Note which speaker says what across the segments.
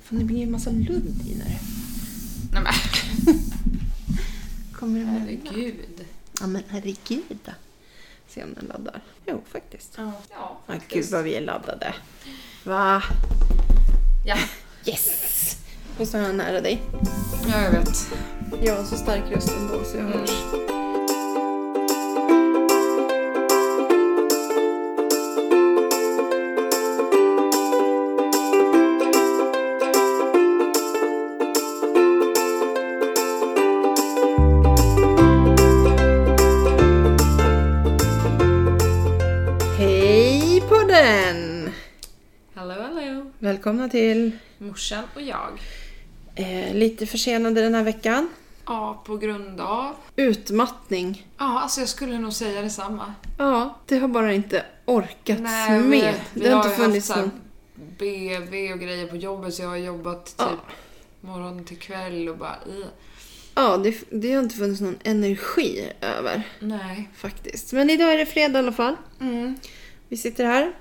Speaker 1: Fan, det blir ju en massa ludd i när det
Speaker 2: Nej men
Speaker 1: kommer emellan.
Speaker 2: herregud.
Speaker 1: Ja, men herregud då. Se om den laddar. Jo, faktiskt.
Speaker 2: Ja, ja
Speaker 1: Ja, gud vad vi är laddade. Va?
Speaker 2: Ja,
Speaker 1: Yes! Och så är jag nära dig.
Speaker 2: ja jag vet.
Speaker 1: Jag har så stark röst ändå så jag hörs. Hej podden!
Speaker 2: Hallå hallå.
Speaker 1: Välkomna till
Speaker 2: Morsan och jag.
Speaker 1: eh, lite försenade den här veckan.
Speaker 2: Ja, på grund av...
Speaker 1: Utmattning.
Speaker 2: Ja, alltså jag skulle nog säga detsamma.
Speaker 1: Ja, det har bara inte orkats
Speaker 2: Nej, vi-
Speaker 1: med.
Speaker 2: vi
Speaker 1: det har
Speaker 2: ju
Speaker 1: inte
Speaker 2: haft
Speaker 1: funnits
Speaker 2: så här
Speaker 1: någon...
Speaker 2: BV och grejer på jobbet så jag har jobbat typ
Speaker 1: Ja.
Speaker 2: morgon till kväll och bara i.
Speaker 1: Ja, det, det har inte funnits någon energi över
Speaker 2: Nej.
Speaker 1: faktiskt. Men idag är det fredag i alla fall.
Speaker 2: Mm.
Speaker 1: Vi sitter här,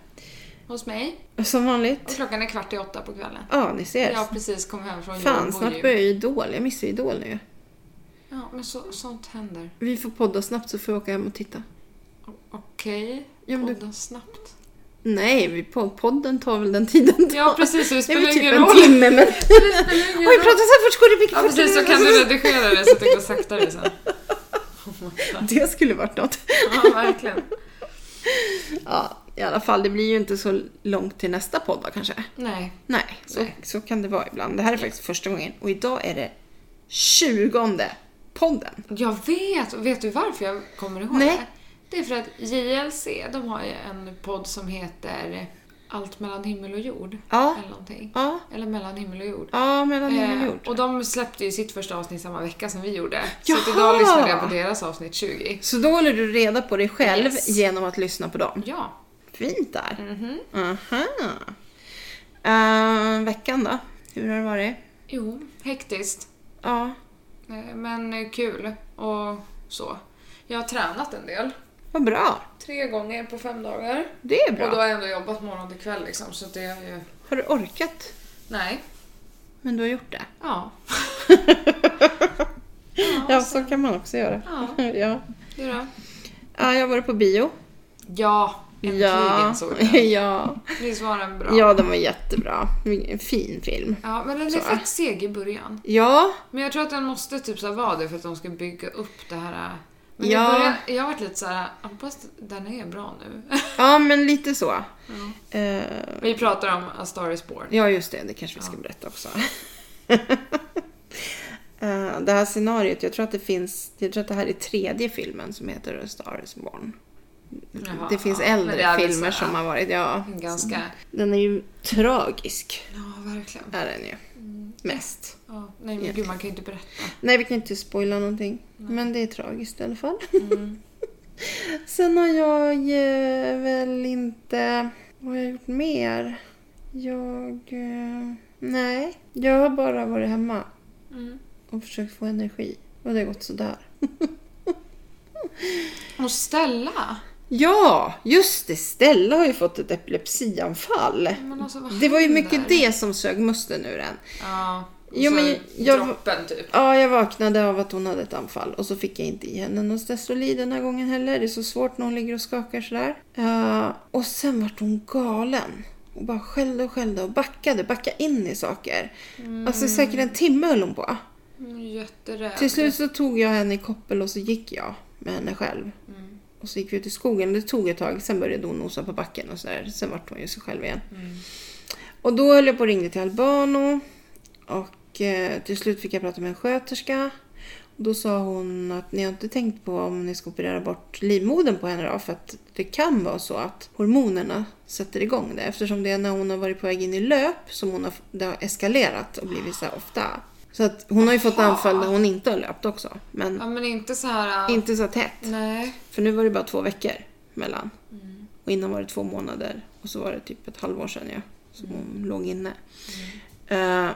Speaker 2: Hos mig.
Speaker 1: som
Speaker 2: Och
Speaker 1: vanligt.
Speaker 2: klockan är kvart i åtta på kvällen.
Speaker 1: Ja, ni ser.
Speaker 2: Jag har precis kommit hem från jobb
Speaker 1: Fan,
Speaker 2: och
Speaker 1: snart
Speaker 2: gym.
Speaker 1: börjar ju Idol. Jag missar ju Idol nu.
Speaker 2: Ja, men så, sånt händer.
Speaker 1: Vi får podda snabbt så får jag åka hem och titta.
Speaker 2: O- Okej.
Speaker 1: Ja, men du-
Speaker 2: Podda snabbt.
Speaker 1: Nej, vi pod- podden tar väl den tiden det
Speaker 2: Ja,
Speaker 1: tar.
Speaker 2: precis. Det
Speaker 1: Det är
Speaker 2: spelar
Speaker 1: väl typ
Speaker 2: ingen
Speaker 1: en
Speaker 2: roll.
Speaker 1: timme, men...
Speaker 2: Det spelar ingen
Speaker 1: Oj,
Speaker 2: roll.
Speaker 1: prata så här fort går det mycket
Speaker 2: Ja, precis. Så
Speaker 1: fortare.
Speaker 2: kan du redigera det så att det går saktare sen. Oh my God.
Speaker 1: Det skulle varit något.
Speaker 2: Ja, verkligen.
Speaker 1: Ja, i alla fall, det blir ju inte så långt till nästa podd va, kanske.
Speaker 2: Nej.
Speaker 1: Nej, så,
Speaker 2: Nej.
Speaker 1: så kan det vara ibland. Det här är faktiskt första gången och idag är det tjugonde podden.
Speaker 2: Jag vet! Och Vet du varför jag kommer ihåg
Speaker 1: Nej.
Speaker 2: det? Det är för att JLC, de har ju en podd som heter Allt mellan himmel och jord.
Speaker 1: Ja.
Speaker 2: Eller någonting.
Speaker 1: Ja,
Speaker 2: Eller mellan himmel och jord.
Speaker 1: ja mellan himmel
Speaker 2: Eh,
Speaker 1: och jord.
Speaker 2: och de släppte ju sitt första avsnitt samma vecka som vi gjorde. Så
Speaker 1: Jaha!
Speaker 2: att idag lyssnade jag på deras avsnitt 20.
Speaker 1: Så då håller du reda på dig själv
Speaker 2: Yes.
Speaker 1: genom att lyssna på dem.
Speaker 2: Ja.
Speaker 1: Fint där.
Speaker 2: Mhm.
Speaker 1: Aha. Ehm, veckan då? Hur har det varit?
Speaker 2: Jo, hektiskt.
Speaker 1: Ja,
Speaker 2: Eh, Men eh, kul och så. Jag har tränat en del.
Speaker 1: vad bra.
Speaker 2: Tre gånger på fem dagar.
Speaker 1: Det är bra.
Speaker 2: Och då har jag ändå jobbat morgon till kväll liksom. Så det är ju...
Speaker 1: Har du orkat?
Speaker 2: Nej.
Speaker 1: Men du har gjort det.
Speaker 2: Ja.
Speaker 1: Ja, så kan man också göra.
Speaker 2: Ja.
Speaker 1: ja.
Speaker 2: Du då?
Speaker 1: ja jag har varit på bio.
Speaker 2: Ja, äntligen
Speaker 1: ja.
Speaker 2: såg jag den.
Speaker 1: ja.
Speaker 2: Visst var den bra?
Speaker 1: Ja, den var jättebra. En fin film.
Speaker 2: Ja, men den är
Speaker 1: Så.
Speaker 2: fett seg i början.
Speaker 1: Ja,
Speaker 2: Men jag tror att den måste typ så här vara det för att de ska bygga upp det här. äh. Men
Speaker 1: Ja.
Speaker 2: i början, jag har varit lite så här, hoppas den är bra nu.
Speaker 1: ja men lite så. Eh,
Speaker 2: Vi pratar om A Star Is Born.
Speaker 1: ja, just det. Det kanske vi ska berätta också. Eh, det här scenariot, jag tror att det finns... Jag tror att det här är tredje filmen som heter A Star Is Born.
Speaker 2: Jaha,
Speaker 1: det finns
Speaker 2: ja. Men det
Speaker 1: äldre
Speaker 2: är väl
Speaker 1: filmer
Speaker 2: så här,
Speaker 1: som har varit... Ja.
Speaker 2: Ganska...
Speaker 1: Den är ju tragisk,
Speaker 2: Ja, verkligen.
Speaker 1: är den ju. Mest.
Speaker 2: Mm. Ja, nej men gud, man kan ju inte berätta.
Speaker 1: Nej, vi kan inte spoila någonting. Men det är tragiskt i alla fall.
Speaker 2: Mm.
Speaker 1: Sen har jag eh, väl inte... Vad har jag gjort mer? Jag... eh, Nej, jag har bara varit hemma
Speaker 2: Mm.
Speaker 1: och försökt få energi. Och det har gått sådär.
Speaker 2: Och Stella!
Speaker 1: Ja, just det! Stella har ju fått ett epilepsianfall.
Speaker 2: Men alltså, vad
Speaker 1: Det var ju
Speaker 2: händer?
Speaker 1: mycket det som sög musten ur en.
Speaker 2: Ja. och
Speaker 1: Jo,
Speaker 2: så
Speaker 1: men jag-
Speaker 2: droppen typ.
Speaker 1: Ja, jag vaknade av att hon hade ett anfall och så fick jag inte i henne någon Stesolid den här gången heller. Det är så svårt när hon ligger och skakar sådär. Eh, och sen vart hon galen. Och bara skällde och skällde och backade, backade in i saker. Alltså säkert en timme höll hon på.
Speaker 2: Mm, Jätterädd.
Speaker 1: Till slut så tog jag henne i koppel och så gick jag med henne själv. Och så gick vi ut i skogen. Det tog ett tag. Sen började hon nosa på backen och sådär. Sen vart hon ju sig själv igen. Och då höll jag på och ringde till Albano. Och eh, till slut fick jag prata med en sköterska. Och då sa hon att ni har inte tänkt på om ni ska operera bort livmodern på henne då? För att det kan vara så att hormonerna sätter igång det. Eftersom det är när hon har varit på väg in i löp som hon har, det har eskalerat och blivit så här ofta. Så att hon har ju fått anfall när hon inte har löpt också. Men
Speaker 2: Ja, men inte så här... äh,
Speaker 1: inte så tätt.
Speaker 2: Nej.
Speaker 1: För nu var det bara två veckor mellan. Och innan var det två månader. Och så var det typ ett halvår sedan ja, som hon låg inne. Eh,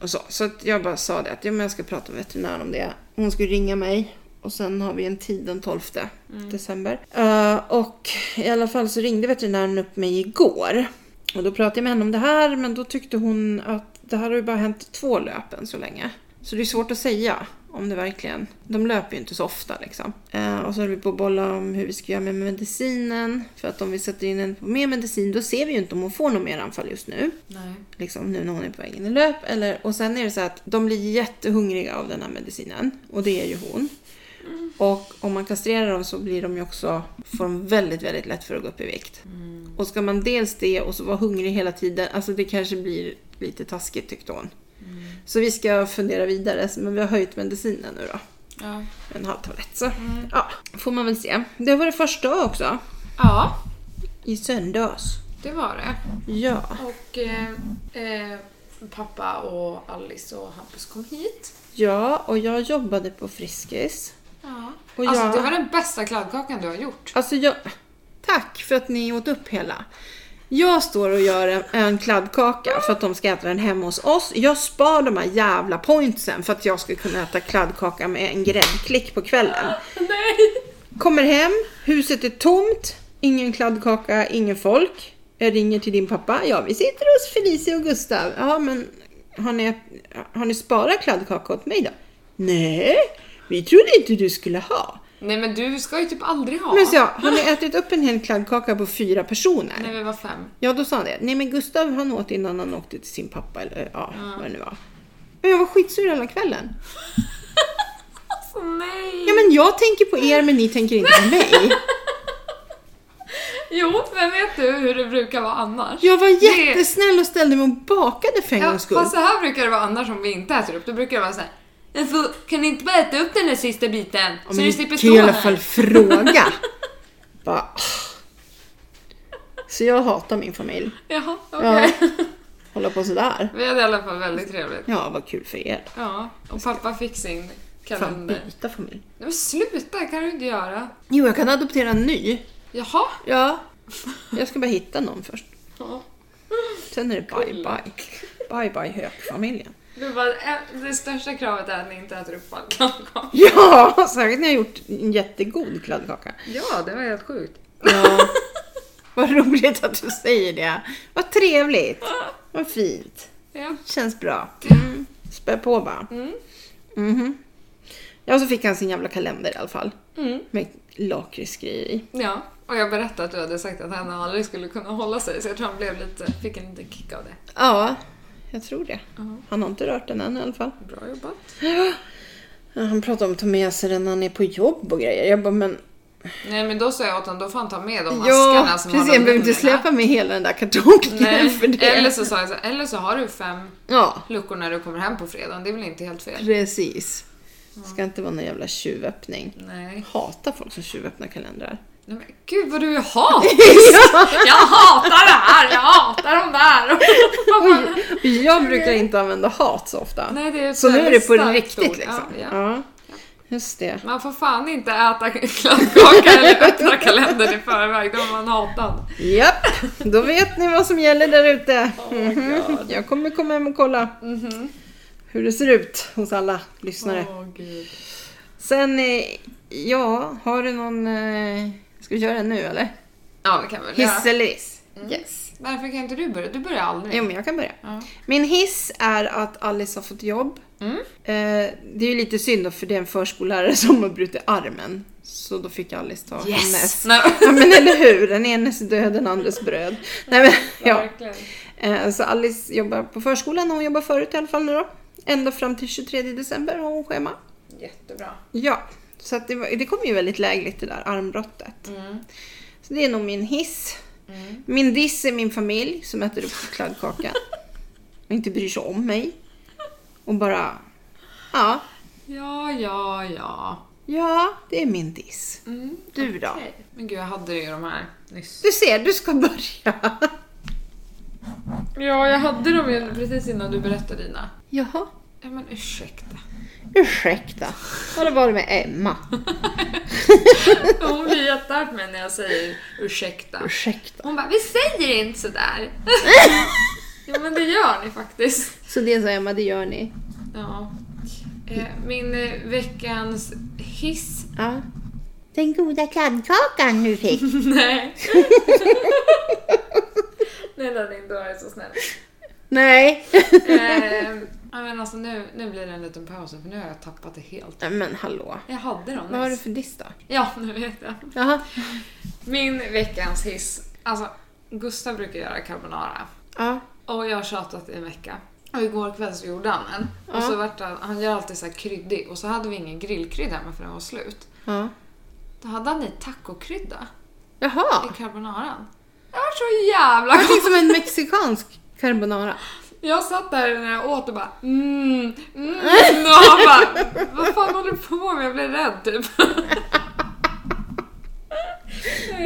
Speaker 1: och så så att jag bara sa det att ja, men jag ska prata med veterinären om det. Hon skulle ringa mig. Och sen har vi en tid den 12 december. Eh, och i alla fall så ringde veterinären upp mig igår. Och då pratade jag med henne om det här men då tyckte hon att det här har ju bara hänt två löp än så länge. Så det är svårt att säga om det verkligen... De löper ju inte så ofta liksom. Eh, och så höll vi på att bolla om hur vi ska göra med medicinen. För att om vi sätter in henne på mer medicin då ser vi ju inte om hon får något mer anfall just nu.
Speaker 2: Nej.
Speaker 1: Liksom nu när hon är på väg in i löp. Eller, och sen är det så att de blir jättehungriga av den här medicinen. Och det är ju hon. Och om man kastrerar dem så blir de ju också, får de väldigt, väldigt lätt för att gå upp i vikt.
Speaker 2: Mm.
Speaker 1: Och ska man dels det och så vara hungrig hela tiden, alltså det kanske blir lite taskigt tyckte hon.
Speaker 2: Mm.
Speaker 1: Så vi ska fundera vidare, så- men vi har höjt medicinen nu då.
Speaker 2: Ja.
Speaker 1: En halv tablett så.
Speaker 2: Mm.
Speaker 1: Ja, får man väl se. Det var det första också.
Speaker 2: ja,
Speaker 1: I söndags.
Speaker 2: det var det.
Speaker 1: Ja.
Speaker 2: Och eh, eh, pappa och Alice och Hampus kom hit.
Speaker 1: Ja, och jag jobbade på Friskis.
Speaker 2: Ja.
Speaker 1: Och
Speaker 2: alltså
Speaker 1: jag-
Speaker 2: det var den bästa kladdkakan du har gjort.
Speaker 1: Alltså jag... Tack för att ni åt upp hela. Jag står och gör en, en kladdkaka för att de ska äta den hemma hos oss. Jag spar de här jävla pointsen för att jag ska kunna äta kladdkaka med en gräddklick på kvällen.
Speaker 2: Nej!
Speaker 1: Kommer hem, huset är tomt, ingen kladdkaka, ingen folk. Jag ringer till din pappa. Ja, vi sitter hos Felicia och Gustav. Ja, men har ni, har ni sparat kladdkaka åt mig då? Nej, vi trodde inte du skulle ha.
Speaker 2: Nej men du ska ju typ aldrig ha.
Speaker 1: Men så jag, har ni ätit upp en hel kladdkaka på fyra personer?
Speaker 2: När vi var fem.
Speaker 1: Ja, då sa han det. Nej, men Gustav han åt innan han åkte till sin pappa eller ja, vad det nu var. Men jag var skitsur hela kvällen.
Speaker 2: Alltså nej!
Speaker 1: Ja, men jag tänker på er men ni tänker inte på mig.
Speaker 2: Jo, men vet du hur det brukar vara annars?
Speaker 1: Jag var
Speaker 2: Det-
Speaker 1: jättesnäll och ställde mig och bakade för en
Speaker 2: Ja,
Speaker 1: gångs skull.
Speaker 2: fast så här brukar det vara annars om vi inte äter upp. Då brukar det vara så här. "Men får- Kan ni inte bara äta upp den där sista biten?
Speaker 1: Ja,
Speaker 2: så
Speaker 1: men
Speaker 2: du
Speaker 1: ni
Speaker 2: slipper
Speaker 1: kan
Speaker 2: stå
Speaker 1: ju i alla fall
Speaker 2: här.
Speaker 1: fråga. Bara, åh. så jag hatar min familj.
Speaker 2: Jaha, okej.
Speaker 1: Ja. Hålla på sådär.
Speaker 2: Vi hade i alla fall väldigt trevligt.
Speaker 1: Ja, vad kul för er.
Speaker 2: Ja, och pappa fick sin
Speaker 1: Fan,
Speaker 2: kalender. Nej
Speaker 1: byta familj.
Speaker 2: men sluta, kan du inte göra.
Speaker 1: Jo, jag kan adoptera en ny.
Speaker 2: Jaha.
Speaker 1: Ja. Jag ska bara hitta någon först.
Speaker 2: Ja.
Speaker 1: Sen är det bye bye. Bye bye hökfamiljen.
Speaker 2: Du bara, "Ä- det största kravet är att ni inte äter upp all kladdkaka.
Speaker 1: Ja, särskilt när jag gjort en jättegod kladdkaka.
Speaker 2: Ja, det var helt sjukt.
Speaker 1: Ja. Vad roligt att du säger det. Vad trevligt. Vad fint.
Speaker 2: Ja.
Speaker 1: Känns bra. Mm. Spä på bara.
Speaker 2: Mm.
Speaker 1: Mhm. Ja, så fick han sin jävla kalender i alla fall.
Speaker 2: Mm.
Speaker 1: Med lakritsgrejer i.
Speaker 2: ja, och jag berättade att du hade sagt att han aldrig skulle kunna hålla sig så jag tror han blev lite, fick en liten kick av det.
Speaker 1: Ja, jag tror det.
Speaker 2: Ja.
Speaker 1: Han har inte rört den än i alla fall.
Speaker 2: Bra jobbat.
Speaker 1: Ja, Han pratar om att ta med sig den när han är på jobb och grejer. Jag bara, men
Speaker 2: Nej men då sa jag åt honom, då får han ta med de askarna
Speaker 1: ja,
Speaker 2: som
Speaker 1: precis.
Speaker 2: har
Speaker 1: Jag
Speaker 2: de
Speaker 1: behöver inte
Speaker 2: numren.
Speaker 1: släpa med hela den där kartongen för
Speaker 2: Nej,
Speaker 1: det.
Speaker 2: eller så sa jag så, eller så har du fem
Speaker 1: Ja,
Speaker 2: luckor när du kommer hem på fredagen, det är väl inte helt fel?
Speaker 1: precis. Det ska inte vara någon jävla tjuvöppning.
Speaker 2: Nej.
Speaker 1: Hatar folk som tjuvöppnar kalendrar.
Speaker 2: Nej men gud vad du är hat! Jag hatar det här! Jag hatar de där!
Speaker 1: Och Jag brukar inte använda hat så ofta.
Speaker 2: Nej, det är ett
Speaker 1: så nu är det
Speaker 2: väldigt
Speaker 1: på
Speaker 2: starkt
Speaker 1: riktigt
Speaker 2: ord.
Speaker 1: liksom.
Speaker 2: Ja,
Speaker 1: Ja,
Speaker 2: ja.
Speaker 1: Just det.
Speaker 2: Man får fan inte äta kladdkaka eller öppna kalendern i förväg, då är man hatad.
Speaker 1: Japp, då vet ni vad som gäller där ute.
Speaker 2: Oh my Mhm.
Speaker 1: Mhm. Jag kommer komma hem och kolla hur det ser ut hos alla lyssnare.
Speaker 2: Åh gud.
Speaker 1: Sen, eh, ja, har du någon... eh, Ska vi köra den nu eller?
Speaker 2: Ja, det kan vi väl
Speaker 1: Hiss
Speaker 2: göra.
Speaker 1: eller diss? Yes.
Speaker 2: Varför kan inte du börja? Du börjar aldrig.
Speaker 1: Jo, men jag kan börja.
Speaker 2: Mm. Ja.
Speaker 1: Min hiss är att Alice har fått jobb.
Speaker 2: Mm.
Speaker 1: Eh, det är ju lite synd då, för det är en förskollärare som har brutit armen. Så då fick Alice ta hennes.
Speaker 2: Yes! Nej,
Speaker 1: Ja, men eller hur, den enes död, den andres bröd. Nej, men, ja.
Speaker 2: verkligen.
Speaker 1: Eh, så Alice jobbar på förskolan, hon jobbar förut i alla fall nu då. Ända fram till 23 december har hon schema.
Speaker 2: Jättebra.
Speaker 1: Ja, så att det, var, det kom ju väldigt lägligt det där armbrottet.
Speaker 2: Mm.
Speaker 1: Så det är nog min hiss.
Speaker 2: Mm.
Speaker 1: Min diss är min familj som äter upp kladdkakan. Och inte bryr sig om mig. Och bara... Ja,
Speaker 2: Ja, ja, ja.
Speaker 1: ja, det är min diss.
Speaker 2: Mm.
Speaker 1: Du då?
Speaker 2: Okej. Men gud, jag hade ju de här nyss.
Speaker 1: Du ser, du ska börja.
Speaker 2: Ja, jag hade dem ju precis innan du berättade dina.
Speaker 1: Jaha.
Speaker 2: Ja, men ursäkta.
Speaker 1: Ursäkta. Vad har det varit med Emma?
Speaker 2: Hon blir jättearg på mig när jag säger ursäkta.
Speaker 1: Ursäkta.
Speaker 2: Hon bara, vi säger inte sådär. jo men det gör ni faktiskt.
Speaker 1: Så det sa Emma, det gör ni.
Speaker 2: Ja. Eh, Min eh, veckans hiss.
Speaker 1: Ja. Den goda kladdkakan du fick.
Speaker 2: Nej. Nej, den är inte varit så snäll.
Speaker 1: Nej.
Speaker 2: Eh, ja, men alltså nu, nu blir det en liten paus för nu har jag tappat det helt.
Speaker 1: Nej, Men hallå.
Speaker 2: Jag hade dem
Speaker 1: Vad har du
Speaker 2: nyss.
Speaker 1: för diss då?
Speaker 2: Ja, nu vet jag.
Speaker 1: Jaha.
Speaker 2: Min veckans hiss. Alltså, Gustav brukar göra carbonara.
Speaker 1: Ja.
Speaker 2: Och jag har tjatat i en vecka. Och igår kväll så gjorde han en. Och så vart han, han gör alltid så här kryddig. Och så hade vi ingen grillkrydda hemma för den var slut.
Speaker 1: ja.
Speaker 2: Då hade han i tacokrydda
Speaker 1: Jaha.
Speaker 2: i carbonaran. Det var så jävla
Speaker 1: Det
Speaker 2: gott!
Speaker 1: är som en mexikansk carbonara.
Speaker 2: Jag satt där när jag åt och bara mm, mm, och han bara, vad fan håller du på med? Jag blev rädd typ.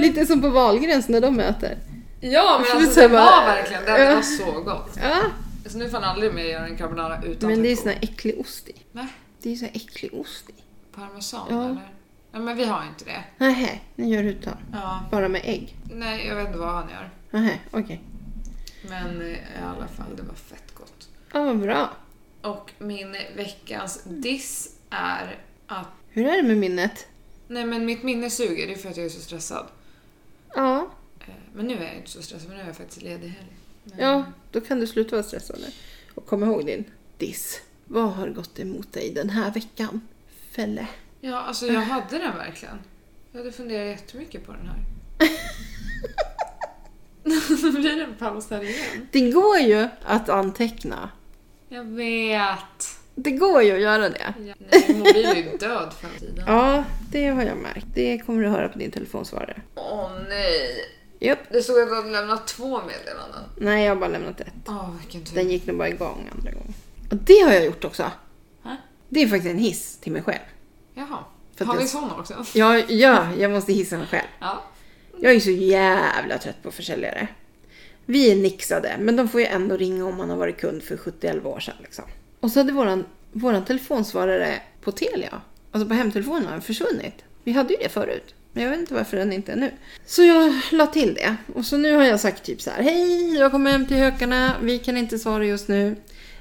Speaker 1: Lite som på Wahlgrens när de äter.
Speaker 2: Ja men alltså det
Speaker 1: Sen bara-
Speaker 2: var verkligen det, det var så gott.
Speaker 1: Ja.
Speaker 2: Så nu får han aldrig mer göra en carbonara utan typ
Speaker 1: Men det är ju
Speaker 2: taco.
Speaker 1: sån här äcklig ost i.
Speaker 2: Nej,
Speaker 1: Det är ju sån här äcklig ost i.
Speaker 2: parmesan
Speaker 1: Ja.
Speaker 2: eller? Nej men vi har inte det.
Speaker 1: Nähä, ni gör utan.
Speaker 2: Ja,
Speaker 1: Bara med ägg?
Speaker 2: nej jag vet inte vad han gör.
Speaker 1: Nähä, okej.
Speaker 2: Men eh, i alla fall det var fett gott.
Speaker 1: Ja, vad bra.
Speaker 2: Och min veckans diss är att,
Speaker 1: Hur är det med minnet?
Speaker 2: nej men mitt minne suger, det är för att jag är så stressad.
Speaker 1: Ja.
Speaker 2: Eh, Men nu är jag inte så stressad, men nu är jag faktiskt ledig helg. Men-
Speaker 1: Ja, då kan du sluta vara stressad nu. Och kom ihåg din diss. Vad har gått emot dig den här veckan? Fälle.
Speaker 2: Ja, alltså jag hade den verkligen. Jag hade funderat jättemycket på den här. Nu blir det en paus här igen.
Speaker 1: Det går ju att anteckna.
Speaker 2: Jag vet.
Speaker 1: Det går ju att göra det.
Speaker 2: Ja, nej, min mobil är ju död för tiden.
Speaker 1: Ja, det har jag märkt. Det kommer du höra på din telefonsvarare.
Speaker 2: Åh nej.
Speaker 1: Japp.
Speaker 2: Det stod att du hade lämnat två meddelanden.
Speaker 1: Nej, jag har bara lämnat ett.
Speaker 2: Åh, vilken tur.
Speaker 1: Den gick nog bara igång andra gången. Och det har jag gjort också.
Speaker 2: Hä?
Speaker 1: Det är faktiskt en hiss till mig själv.
Speaker 2: Jaha.
Speaker 1: För att
Speaker 2: Har vi
Speaker 1: jag-
Speaker 2: såna också?
Speaker 1: Ja, ja jag måste hissa mig själv.
Speaker 2: Ja.
Speaker 1: Jag är så jävla trött på försäljare. Vi är nixade, men de får ju ändå ringa om man har varit kund för 71 år sedan. Liksom. Och så hade våran, våran telefonsvarare på Telia, alltså på hemtelefonen, har den försvunnit. Vi hade ju det förut, men jag vet inte varför den inte är nu. Så jag la till det. Och så nu har jag sagt typ så här, hej, jag kommer hem till hökarna, vi kan inte svara just nu.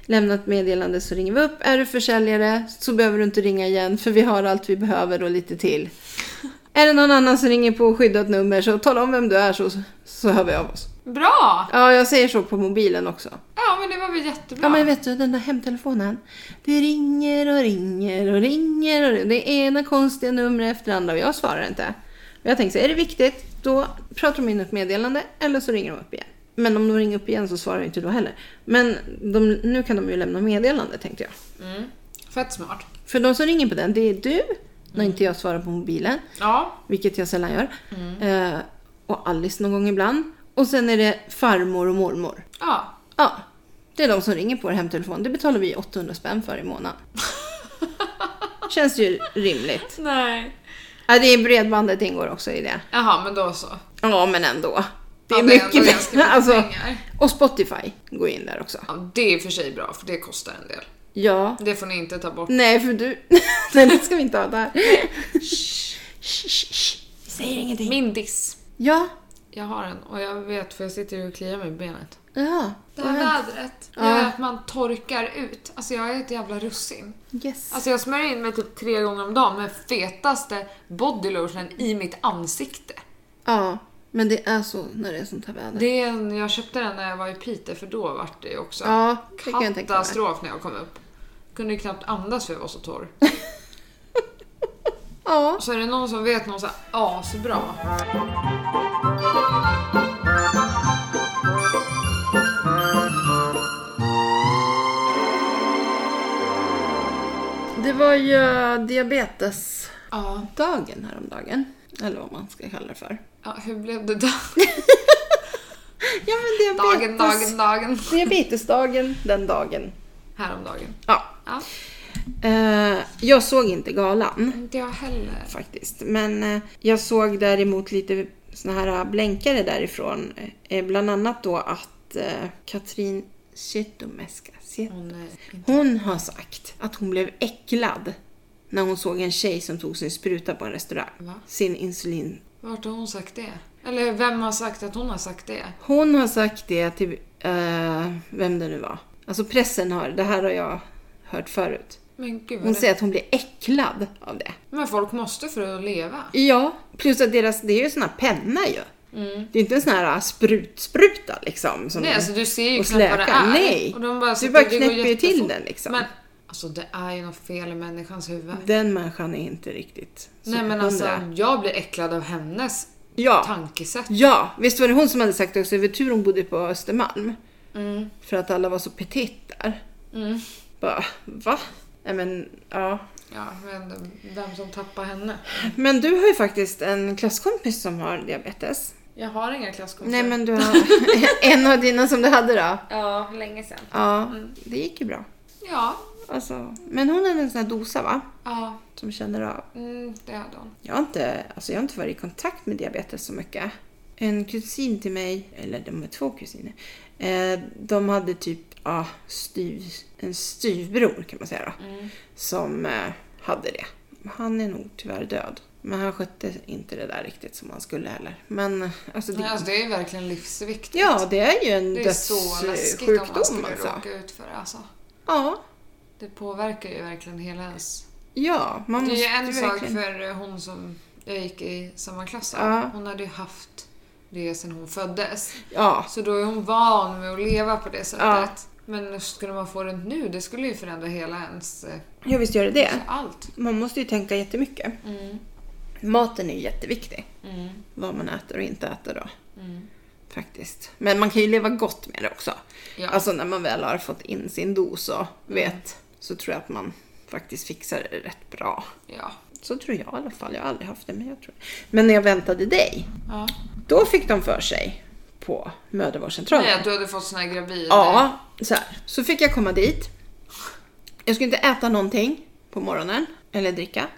Speaker 1: Lämna ett meddelande så ringer vi upp. Är du försäljare så behöver du inte ringa igen för vi har allt vi behöver och lite till. Är det någon annan som ringer på skyddat nummer så tala om vem du är så, så hör vi av oss.
Speaker 2: Bra!
Speaker 1: Ja, jag säger så på mobilen också.
Speaker 2: Ja, men det var väl jättebra.
Speaker 1: Ja, men vet du, den där hemtelefonen. Det ringer och ringer och ringer och det är ena konstiga numret efter andra och jag svarar inte. Och jag tänkte så här, är det viktigt, då pratar de in ett meddelande eller så ringer de upp igen. Men om de ringer upp igen så svarar jag inte då heller. Men de, nu kan de ju lämna meddelande tänkte jag.
Speaker 2: Mm. Fett smart.
Speaker 1: För de som ringer på den, det är du, när inte jag svarar på mobilen
Speaker 2: Ja.
Speaker 1: vilket jag sällan gör.
Speaker 2: Mm.
Speaker 1: Eh, och Alice någon gång ibland. Och sen är det farmor och mormor.
Speaker 2: Ja.
Speaker 1: Ja, det är de som ringer på vår hemtelefon. Det betalar vi 800 spänn för i månaden. Känns ju rimligt.
Speaker 2: Nej.
Speaker 1: Ja, det är bredbandet ingår också i det.
Speaker 2: Jaha, men då så.
Speaker 1: Ja, men ändå. Det är
Speaker 2: Ja,
Speaker 1: mycket,
Speaker 2: ändå
Speaker 1: pengar.
Speaker 2: ganska mycket
Speaker 1: alltså,
Speaker 2: pengar.
Speaker 1: Och Spotify går in där också.
Speaker 2: Ja, det är i och för sig bra, för det kostar en del.
Speaker 1: Ja.
Speaker 2: Det får ni inte ta bort.
Speaker 1: Nej, för du... Nej, det ska vi inte ha där. Shh, shh, shh. Vi säger ingenting.
Speaker 2: Min diss.
Speaker 1: Ja.
Speaker 2: Jag har en och jag vet för jag sitter och kliar mig i benet.
Speaker 1: Ja.
Speaker 2: Det här vädret
Speaker 1: Ja.
Speaker 2: gör att man torkar ut. Alltså jag är ett jävla russin.
Speaker 1: Yes.
Speaker 2: Alltså jag smörjer in mig typ tre gånger om dagen med fetaste bodylotionen i mitt ansikte.
Speaker 1: Ja, men det är så när det är sånt här väder.
Speaker 2: Det är en, jag köpte den när jag var i Piteå för då var det ju också
Speaker 1: Ja, det kan jag tänka mig.
Speaker 2: katastrof när jag kom upp. Kunde ju knappt andas för jag var så torr.
Speaker 1: Ja.
Speaker 2: Så är det någon som vet någon så här asbra.
Speaker 1: Det var ju eh, diabetesdagen
Speaker 2: Ja.
Speaker 1: häromdagen. Eller vad man ska kalla det för.
Speaker 2: ja, hur blev det där?
Speaker 1: Ja, men diabetes...
Speaker 2: Dagen, dagen, dagen.
Speaker 1: Diabetesdagen den dagen.
Speaker 2: Häromdagen.
Speaker 1: Ja.
Speaker 2: Ja.
Speaker 1: Eh, jag såg inte galan
Speaker 2: Inte jag heller.
Speaker 1: faktiskt. Men eh, jag såg däremot lite såna här blänkare därifrån. Eh, bland annat då att eh, Katrin Zytomierska Zyt-
Speaker 2: Åh nej.
Speaker 1: Hon har sagt att hon blev äcklad när hon såg en tjej som tog sin spruta på en restaurang.
Speaker 2: Va?
Speaker 1: Sin insulin.
Speaker 2: Vart har hon sagt det? Eller vem har sagt att hon har sagt det?
Speaker 1: Hon har sagt det till eh, vem det nu var. Alltså pressen har, det här har jag hört förut.
Speaker 2: Men gud vad
Speaker 1: Hon
Speaker 2: det...
Speaker 1: säger att hon blir äcklad av det.
Speaker 2: Men folk måste för att leva.
Speaker 1: Ja, plus att deras, det är ju såna penna ju.
Speaker 2: Mm.
Speaker 1: Det är inte en sån här sprutspruta liksom. Som
Speaker 2: Nej, alltså du ser ju
Speaker 1: och
Speaker 2: knappt vad det
Speaker 1: släka.
Speaker 2: är.
Speaker 1: Nej.
Speaker 2: Och de bara,
Speaker 1: du
Speaker 2: sitter-
Speaker 1: bara
Speaker 2: det går
Speaker 1: knäpper ju till
Speaker 2: jättefort.
Speaker 1: den liksom.
Speaker 2: Men alltså det är ju något fel i människans huvud.
Speaker 1: Den människan är inte riktigt så
Speaker 2: Nej men
Speaker 1: hundra.
Speaker 2: alltså jag blir äcklad av hennes
Speaker 1: Ja,
Speaker 2: tankesätt.
Speaker 1: ja, visst var det hon som hade sagt också, det var tur hon bodde på Östermalm.
Speaker 2: Mm.
Speaker 1: För att alla var så petit där.
Speaker 2: Mm.
Speaker 1: Bara, va? Nej men, ja.
Speaker 2: Ja, men vem som tappar henne?
Speaker 1: Men du har ju faktiskt en klasskompis som har diabetes.
Speaker 2: Jag har inga klasskompisar.
Speaker 1: Nej men du har en av dina som du hade då.
Speaker 2: Ja, länge sedan.
Speaker 1: Ja, det gick ju bra.
Speaker 2: Ja.
Speaker 1: Alltså, men hon hade en sån här dosa va?
Speaker 2: Ja,
Speaker 1: Som känner av.
Speaker 2: mm, det hade hon.
Speaker 1: Jag har, inte, alltså jag har inte varit i kontakt med diabetes så mycket. En kusin till mig, eller de är två kusiner, eh, de hade typ ja, styv, en styvbror kan man säga då,
Speaker 2: Mm.
Speaker 1: som eh, hade det. Han är nog tyvärr död. Men han skötte inte det där riktigt som han skulle heller. Men alltså det,
Speaker 2: Nej, alltså, det är ju verkligen livsviktigt.
Speaker 1: ja, det är ju en
Speaker 2: det är så läskigt om man
Speaker 1: dödssjukdom
Speaker 2: skulle
Speaker 1: alltså.
Speaker 2: råka ut för det. Alltså.
Speaker 1: Ja,
Speaker 2: Det påverkar ju verkligen hela ens...
Speaker 1: ja, man
Speaker 2: Det är
Speaker 1: måste
Speaker 2: ju en sak
Speaker 1: verkligen-
Speaker 2: för eh, hon som jag gick i samma klass av.
Speaker 1: Ja.
Speaker 2: Hon hade ju haft det sedan hon föddes.
Speaker 1: Ja,
Speaker 2: Så då är hon van med att leva på det sättet.
Speaker 1: Ja.
Speaker 2: Men skulle man få det nu, det skulle ju förändra hela ens... eh,
Speaker 1: jag visst gör det det.
Speaker 2: alltså Allt.
Speaker 1: Man måste ju tänka jättemycket.
Speaker 2: Mm.
Speaker 1: Maten är ju jätteviktig.
Speaker 2: Mm.
Speaker 1: vad man äter och inte äter då.
Speaker 2: Mm.
Speaker 1: Faktiskt. Men man kan ju leva gott med det också.
Speaker 2: Ja. Mm.
Speaker 1: Alltså när man väl har fått in sin dos och vet så tror jag att man faktiskt fixar det rätt bra.
Speaker 2: Ja.
Speaker 1: Så tror jag i alla fall. Jag har aldrig haft det men jag tror Men när jag väntade dig,
Speaker 2: ja.
Speaker 1: då fick de för sig på mödravårdscentralen.
Speaker 2: Nej, att du hade fått sån här gravid...
Speaker 1: Ja, så här. Så fick jag komma dit. Jag skulle inte äta någonting på morgonen, eller dricka.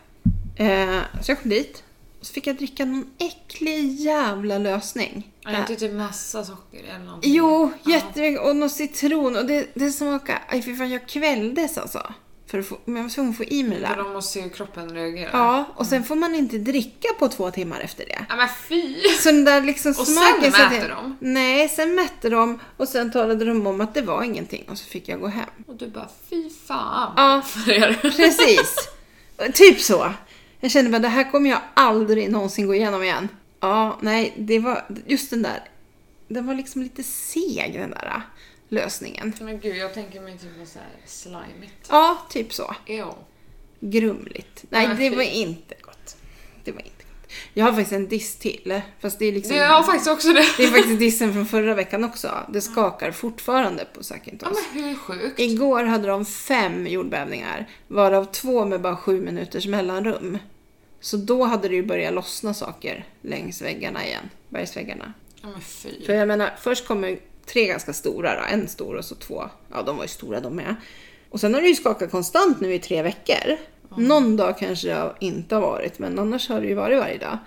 Speaker 1: Eh, så jag kom dit. Och så fick jag dricka någon äcklig jävla lösning.
Speaker 2: Är det inte typ massa socker eller någonting?
Speaker 1: Jo, jättemycket. Och någon citron. Och det, det smakar... Aj, fy fan, jag kvälldes alltså. För att få, men jag var tvungen att få i mig det
Speaker 2: För
Speaker 1: där.
Speaker 2: de måste se hur kroppen reagerar.
Speaker 1: Ja, och sen får man inte dricka på två timmar efter det.
Speaker 2: Ja, men fy!
Speaker 1: Så den där liksom
Speaker 2: Och sen
Speaker 1: smaken satt i-
Speaker 2: mäter de?
Speaker 1: Nej, sen mätte de och sen talade de om att det var ingenting och så fick jag gå hem.
Speaker 2: Och du bara, fy fan
Speaker 1: Ja.
Speaker 2: för er.
Speaker 1: Precis. typ så. Jag kände bara, det här kommer jag aldrig någonsin gå igenom igen. Ja, nej, det var just den där. Den var liksom lite seg den där äh, lösningen.
Speaker 2: Men gud, jag tänker mig typ något såhär slimigt.
Speaker 1: Ja, typ så.
Speaker 2: Ew.
Speaker 1: Grumligt. Nej,
Speaker 2: Nej,
Speaker 1: det
Speaker 2: fy.
Speaker 1: var inte gott. Det var inte gott. Jag har faktiskt en diss till. Fast det är liksom...
Speaker 2: Det, jag har faktiskt också det.
Speaker 1: Det är faktiskt dissen från förra veckan också. Det skakar fortfarande på
Speaker 2: Ja,
Speaker 1: Sakintos.
Speaker 2: men hur sjukt?
Speaker 1: Igår hade de fem jordbävningar, varav två med bara sju minuters mellanrum. Så då hade det ju börjat lossna saker längs väggarna igen, bergsväggarna.
Speaker 2: Ja, men fy.
Speaker 1: För jag menar, först kommer tre ganska stora då, en stor och så två, ja de var ju stora de med. Och sen har det ju skakat konstant nu i tre veckor. Någon dag kanske det inte har varit, men annars har det ju varit varje dag.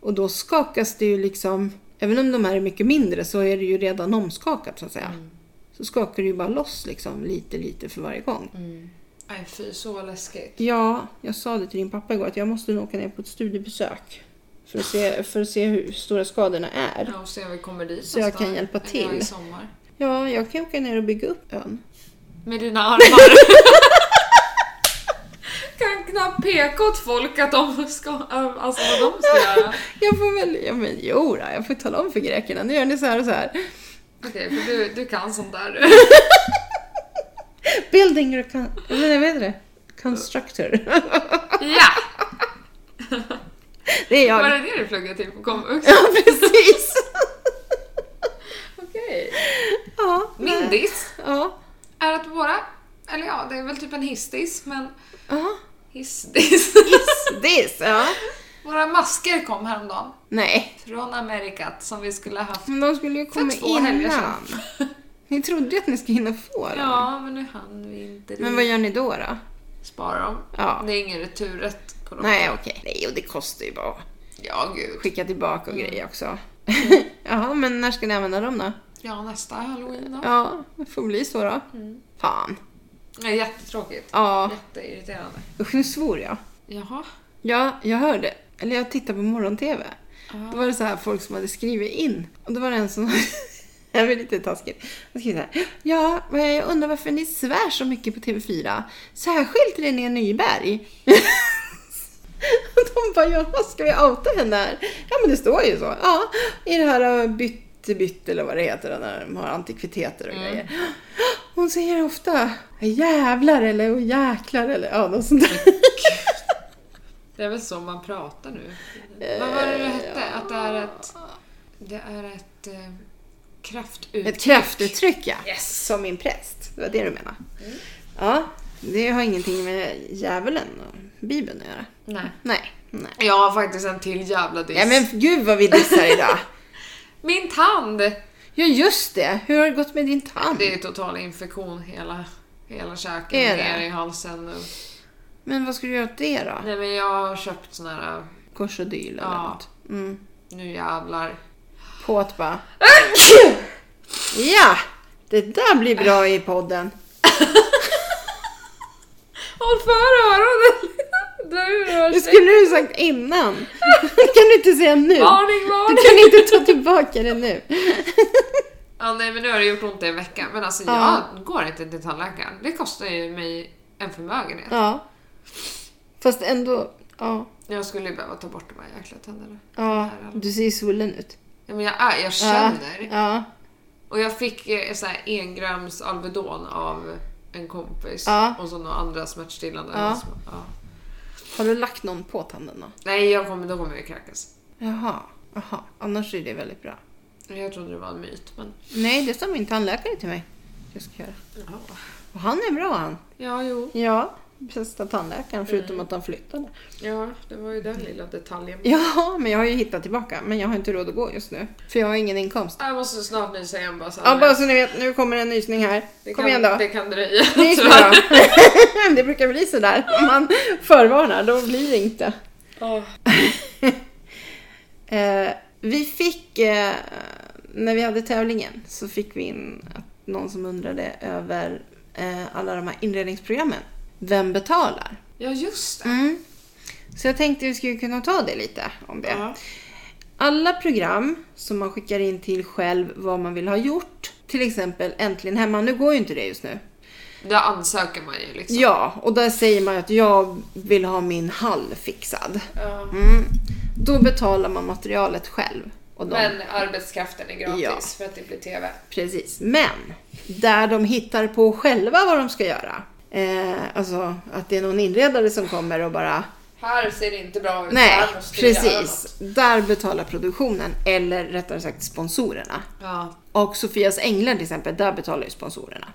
Speaker 1: Och då skakas det ju liksom, även om de här är mycket mindre så är det ju redan omskakat så att säga.
Speaker 2: Mm,
Speaker 1: Så skakar det ju bara loss liksom lite, lite för varje gång.
Speaker 2: mm. Nej, fy, så läskigt.
Speaker 1: Ja, jag sa det till din pappa igår att jag måste nog åka ner på ett studiebesök. För att se, för att se hur stora skadorna är.
Speaker 2: Ja, och se om vi kommer dit
Speaker 1: Så jag
Speaker 2: nästa-
Speaker 1: kan hjälpa
Speaker 2: en
Speaker 1: till.
Speaker 2: gång i sommar.
Speaker 1: Ja, jag kan ju åka ner och bygga upp ön.
Speaker 2: Med dina armar. kan knappt peka åt folk att de ska, alltså vad de ska göra.
Speaker 1: Jag får väl, ja men jo då, jag får tala om för grekerna, nu gör ni så här och så här.
Speaker 2: Okej, för du, du kan sånt där.
Speaker 1: Building, recon- eller nej, vad heter det? Constructor.
Speaker 2: Ja!
Speaker 1: Det är
Speaker 2: Var
Speaker 1: jag.
Speaker 2: det det du pluggade till på komvux?
Speaker 1: Ja, precis.
Speaker 2: Okej.
Speaker 1: Ja,
Speaker 2: Min
Speaker 1: nej.
Speaker 2: diss
Speaker 1: Ja.
Speaker 2: är att våra, eller ja, det är väl typ en hissdiss, men
Speaker 1: Ja.
Speaker 2: hissdiss.
Speaker 1: This, ja.
Speaker 2: våra masker kom häromdagen
Speaker 1: Nej,
Speaker 2: från Amerikat som vi skulle ha haft.
Speaker 1: men de skulle ju komma
Speaker 2: två helger sedan.
Speaker 1: innan. Ni trodde ju att ni skulle hinna få dem.
Speaker 2: Ja, men nu hann vi inte
Speaker 1: Men
Speaker 2: det.
Speaker 1: vad gör ni då? då?
Speaker 2: Spara dem.
Speaker 1: Ja.
Speaker 2: Det är ingen returrätt på dem.
Speaker 1: Nej, okej. Nej, och det kostar ju bara att
Speaker 2: Ja, gud.
Speaker 1: skicka tillbaka
Speaker 2: Mm.
Speaker 1: och grejer också. Jaha, men när ska ni använda dem då?
Speaker 2: Ja, nästa halloween då.
Speaker 1: Ja, det får bli så då.
Speaker 2: Mm.
Speaker 1: Fan.
Speaker 2: Det är jättetråkigt.
Speaker 1: Ja,
Speaker 2: Jätteirriterande.
Speaker 1: usch nu svor jag.
Speaker 2: Jaha.
Speaker 1: Ja, jag hörde. Eller jag tittade på morgon-tv.
Speaker 2: Ja.
Speaker 1: Då var det så här folk som hade skrivit in. Och då var det en som... Det här var lite taskigt. Han skrev så här. Ja, vad jag undrar varför ni svär så mycket på TV4. Särskilt René Nyberg. De bara, ja, vad ska vi outa henne här? Ja, men det står ju så. Ja, i det här byttebytt eller vad det heter, när de har antikviteter och
Speaker 2: Mm.
Speaker 1: grejer. Hon säger ofta jävlar eller och jäklar eller ja, något sånt där.
Speaker 2: Det är väl så man pratar nu.
Speaker 1: Eh,
Speaker 2: Vad var det det hette? Att det är ett... Det är ett eh, kraftuttryck.
Speaker 1: Ett kraftuttryck, ja.
Speaker 2: Yes! Mm.
Speaker 1: Som min präst. Det var det du menade. Ja, det har ingenting med djävulen och Bibeln att göra.
Speaker 2: Nej.
Speaker 1: Nej, nej.
Speaker 2: Jag har faktiskt en till jävla diss.
Speaker 1: Ja, men gud vad vi dissar idag.
Speaker 2: Min tand!
Speaker 1: Ja, just det. Hur har det gått med din tand?
Speaker 2: Det är ju total infektion hela, hela käken
Speaker 1: Är det?
Speaker 2: ner i halsen nu.
Speaker 1: Men vad ska du göra åt det då?
Speaker 2: Nej men jag har köpt sån här... äh,
Speaker 1: Korsodyl eller
Speaker 2: Ja.
Speaker 1: något? Mm.
Speaker 2: Nu jävlar.
Speaker 1: På att bara... Ja! Det där blir bra i podden.
Speaker 2: Håll för öronen! Dra ur
Speaker 1: Det
Speaker 2: hörseln.
Speaker 1: skulle du sagt innan. Det kan du inte säga nu.
Speaker 2: Varning,
Speaker 1: Du
Speaker 2: varning!
Speaker 1: kan inte ta tillbaka det nu.
Speaker 2: Ja, nej men nu har det gjort ont i en vecka. Men alltså
Speaker 1: Ja.
Speaker 2: jag går inte till tandläkaren. Det kostar ju mig en förmögenhet.
Speaker 1: Ja. Fast ändå... Ja.
Speaker 2: Jag skulle ju behöva ta bort de här jäkla tänderna.
Speaker 1: ja. Du ser ju svullen ut.
Speaker 2: Ja, men jag är, jag
Speaker 1: Ja.
Speaker 2: känner.
Speaker 1: Ja.
Speaker 2: Och jag fick eh, så här en grams Alvedon av en kompis.
Speaker 1: Ja.
Speaker 2: Och så några andra smärtstillande.
Speaker 1: Ja.
Speaker 2: Som- Ja.
Speaker 1: Har du lagt någon på tanden då?
Speaker 2: Nej, jag kommer, då kommer jag kräkas.
Speaker 1: Jaha. Jaha. Annars är det väldigt bra.
Speaker 2: Jag trodde det var en myt, men...
Speaker 1: Nej, det sa min tandläkare till mig. Jag ska göra.
Speaker 2: Ja,
Speaker 1: Och han är bra han. Mm.
Speaker 2: ja jo.
Speaker 1: Ja, bästa tandläkaren förutom att han flyttade.
Speaker 2: Ja, det var ju den lilla detaljen.
Speaker 1: Ja, men jag har ju hittat tillbaka. Men jag har inte råd att gå just nu. För jag har ingen inkomst.
Speaker 2: Jag måste snart nysa igen bara så
Speaker 1: Ja, bara så ni vet, nu kommer en nysning här.
Speaker 2: det
Speaker 1: Kom
Speaker 2: kan,
Speaker 1: igen då.
Speaker 2: Det kan dröja.
Speaker 1: Nys nu
Speaker 2: tyvärr.
Speaker 1: då. Det brukar bli sådär. Om man förvarnar, då blir det inte.
Speaker 2: Ja.
Speaker 1: Eh, vi fick, eh, när vi hade tävlingen, så fick vi in att någon som undrade över eh, alla de här inredningsprogrammen. Vem betalar?
Speaker 2: Ja, just det.
Speaker 1: Mm. Så jag tänkte vi skulle kunna ta det lite om det.
Speaker 2: Ja.
Speaker 1: Alla program som man skickar in till själv vad man vill ha gjort, till exempel Äntligen Hemma, nu går ju inte det just nu.
Speaker 2: Där ansöker man ju liksom.
Speaker 1: Ja, och där säger man ju att jag vill ha min hall fixad.
Speaker 2: Ja.
Speaker 1: Mm. Då betalar man materialet själv. Och de,
Speaker 2: Men arbetskraften är gratis
Speaker 1: Ja.
Speaker 2: för att det blir TV.
Speaker 1: Precis, men där de hittar på själva vad de ska göra. Eh, alltså att det är någon inredare som kommer och bara
Speaker 2: Här ser det inte bra ut.
Speaker 1: Nej,
Speaker 2: här måste vi göra något.
Speaker 1: precis. Där betalar produktionen, eller rättare sagt sponsorerna.
Speaker 2: Ja.
Speaker 1: Och Sofias Änglar till exempel, där betalar ju sponsorerna.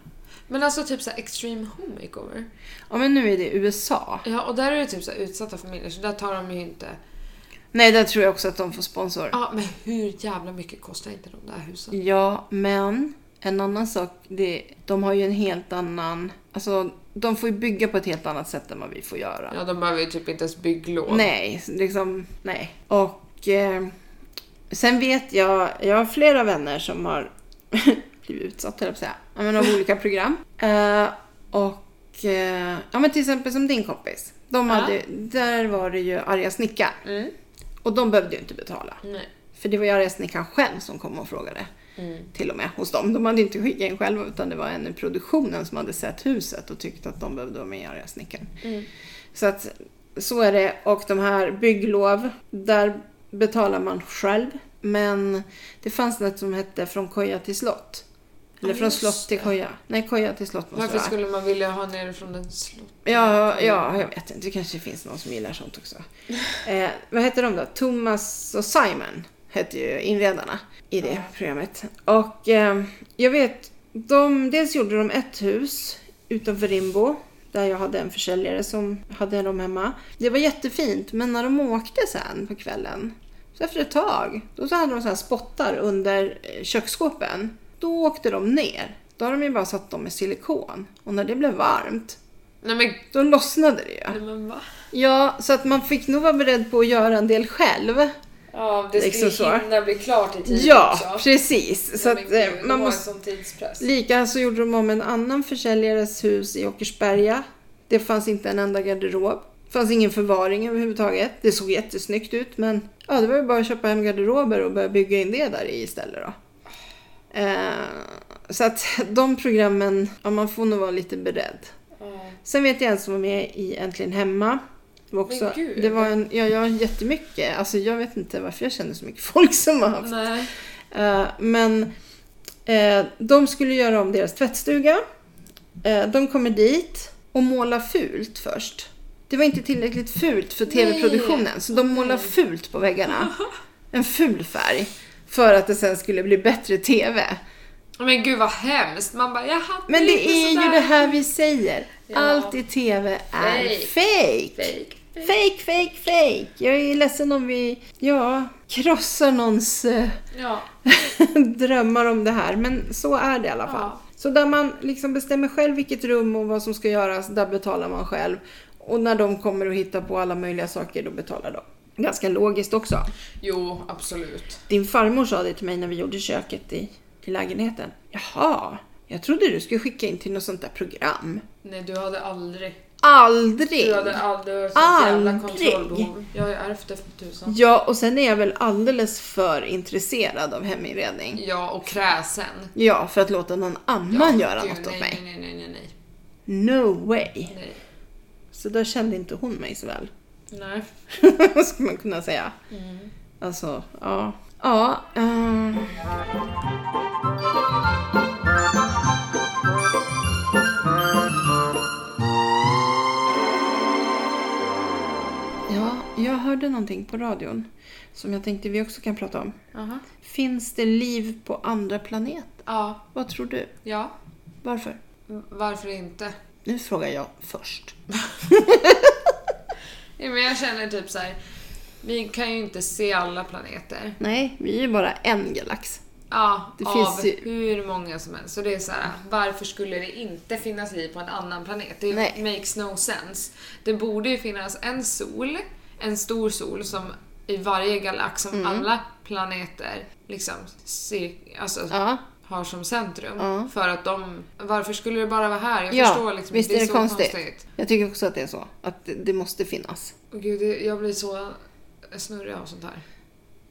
Speaker 2: Men alltså typ så här extreme home makeover.
Speaker 1: Ja men nu är det USA.
Speaker 2: Ja, och där är det typ så här utsatta familjer så där tar de ju inte...
Speaker 1: Nej, där tror jag också att de får sponsor.
Speaker 2: Ja, men hur jävla mycket kostar inte de där husen?
Speaker 1: Ja, men en annan sak, det, de har ju en helt annan... Alltså, de får ju bygga på ett helt annat sätt än vad vi får göra.
Speaker 2: Ja, de behöver ju typ inte ens bygglov.
Speaker 1: Nej, liksom nej. Och eh, sen vet jag, jag har flera vänner som har blivit utsatta, höll jag på att säga, Ja, men av olika program. Eh, och eh, ja men till exempel som din kompis. De
Speaker 2: Ja.
Speaker 1: hade, där var det ju arga snickaren.
Speaker 2: Mm.
Speaker 1: Och de behövde ju inte betala.
Speaker 2: Nej.
Speaker 1: För det var ju arga snickaren själv som kom och frågade.
Speaker 2: Mm.
Speaker 1: Till och med hos dem. De hade ju inte skickat in själva utan det var en i produktionen som hade sett huset och tyckte att de behövde vara med i arga snickaren.
Speaker 2: Mm.
Speaker 1: Så att så är det. Och de här bygglov, där betalar man själv. Men det fanns något som hette Från koja till slott. Eller
Speaker 2: Ja,
Speaker 1: från
Speaker 2: just
Speaker 1: slott till
Speaker 2: det.
Speaker 1: koja. Nej, koja till slott måste
Speaker 2: Varför
Speaker 1: det vara.
Speaker 2: skulle man vilja ha nerifrån en slott?
Speaker 1: Ja, ja, jag vet inte. Det kanske finns någon som gillar sånt också. Eh, vad hette de då? Thomas och Simon hette ju inredarna i det
Speaker 2: Ja.
Speaker 1: programmet. Och eh, jag vet, de, dels gjorde de ett hus utanför Rimbo. Där jag hade en försäljare som hade dem hemma. Det var jättefint, men när de åkte sen på kvällen. Så efter ett tag, då så hade de så här spottar under eh, köksskåpen. Då åkte de ner. Då har de ju bara satt dem med silikon. Och när det blev varmt,
Speaker 2: Nej men,
Speaker 1: då lossnade det ju.
Speaker 2: nej, men va?
Speaker 1: Ja, så att man fick nog vara beredd på att göra en del själv.
Speaker 2: Ja, det ska
Speaker 1: Liksom så.
Speaker 2: ju hinna bli klart i tid
Speaker 1: Ja,
Speaker 2: också.
Speaker 1: precis. Så
Speaker 2: Nej,
Speaker 1: att
Speaker 2: men
Speaker 1: eh,
Speaker 2: gud,
Speaker 1: man
Speaker 2: de
Speaker 1: måste...
Speaker 2: har en sån tidspress.
Speaker 1: Lika så gjorde de om en annan försäljares hus i Åkersberga. Det fanns inte en enda garderob. Det fanns ingen förvaring överhuvudtaget. Det såg jättesnyggt ut men ja, det var ju bara att köpa hem garderober och börja bygga in det där i istället då. Eh, så att de programmen, ja, man får nog vara lite beredd.
Speaker 2: Ja.
Speaker 1: Sen vet jag en som var med i Äntligen Hemma. Det var också,
Speaker 2: Men gud.
Speaker 1: det var en, ja, jag har jättemycket, alltså jag vet inte varför jag känner så mycket folk som har haft.
Speaker 2: Nej.
Speaker 1: Eh, men eh, de skulle göra om deras tvättstuga. Eh, de kommer dit och målar fult först. Det var inte tillräckligt fult för tv-produktionen så de
Speaker 2: Nej.
Speaker 1: målar fult på väggarna. En ful färg. För att det sen skulle bli bättre tv.
Speaker 2: Men gud vad hemskt. Man bara, jag hade
Speaker 1: Men det
Speaker 2: inte
Speaker 1: är ju
Speaker 2: sådär.
Speaker 1: det här vi säger.
Speaker 2: Ja.
Speaker 1: Allt i tv är
Speaker 2: Fake.
Speaker 1: fake.
Speaker 2: Fake.
Speaker 1: Fake, fake, fake. Jag är ledsen om vi, ja, krossar någons eh,
Speaker 2: Ja.
Speaker 1: drömmar om det här. Men så är det i alla fall.
Speaker 2: Ja.
Speaker 1: Så där man liksom bestämmer själv vilket rum och vad som ska göras, där betalar man själv. Och när de kommer och hittar på alla möjliga saker, då betalar de. Ganska logiskt också.
Speaker 2: Jo, absolut.
Speaker 1: Din farmor sa det till mig när vi gjorde köket i, i lägenheten. Jaha, jag trodde du skulle skicka in till något sånt där program.
Speaker 2: Nej, du hade aldrig...
Speaker 1: Aldrig!
Speaker 2: Du hade aldrig... Du har sånt jävla
Speaker 1: Aldrig.
Speaker 2: kontrollbehov. Jag har ju ärvt det för tusan.
Speaker 1: Ja, och sen är jag väl alldeles för intresserad av heminredning.
Speaker 2: Ja, och kräsen.
Speaker 1: Ja, för att låta någon annan göra
Speaker 2: Gud,
Speaker 1: något åt
Speaker 2: nej,
Speaker 1: mig.
Speaker 2: Nej, nej, nej, nej.
Speaker 1: No way!
Speaker 2: Nej.
Speaker 1: Så där kände inte hon mig så väl.
Speaker 2: nej.
Speaker 1: Skulle man kunna säga.
Speaker 2: Mm.
Speaker 1: Alltså, ja. Ja, eh, ja, jag hörde någonting på radion som jag tänkte vi också kan prata om.
Speaker 2: Aha.
Speaker 1: Finns det liv på andra planeter?
Speaker 2: Ja,
Speaker 1: Vad tror du?
Speaker 2: ja.
Speaker 1: Varför?
Speaker 2: M- Varför inte?
Speaker 1: Nu frågar jag först.
Speaker 2: Ja, men jag känner typ så här. Vi kan ju inte se alla planeter.
Speaker 1: Nej, vi är ju bara en galax.
Speaker 2: Ja,
Speaker 1: Det
Speaker 2: av
Speaker 1: finns ju-
Speaker 2: hur många som helst. Så det är så här, varför skulle det inte finnas liv på en annan planet? Det
Speaker 1: Nej.
Speaker 2: makes no sense. Det borde ju finnas en sol, en stor sol som i varje galax som alla planeter liksom ser, alltså,
Speaker 1: Ja,
Speaker 2: har som centrum.
Speaker 1: Ja.
Speaker 2: För att de, varför skulle det bara vara här? Jag
Speaker 1: Ja,
Speaker 2: förstår liksom
Speaker 1: visst
Speaker 2: inte.
Speaker 1: är det
Speaker 2: så
Speaker 1: konstigt. jag tycker också att det är så. Att det- det måste finnas.
Speaker 2: Och gud, det- jag blir så snurrig av sånt här.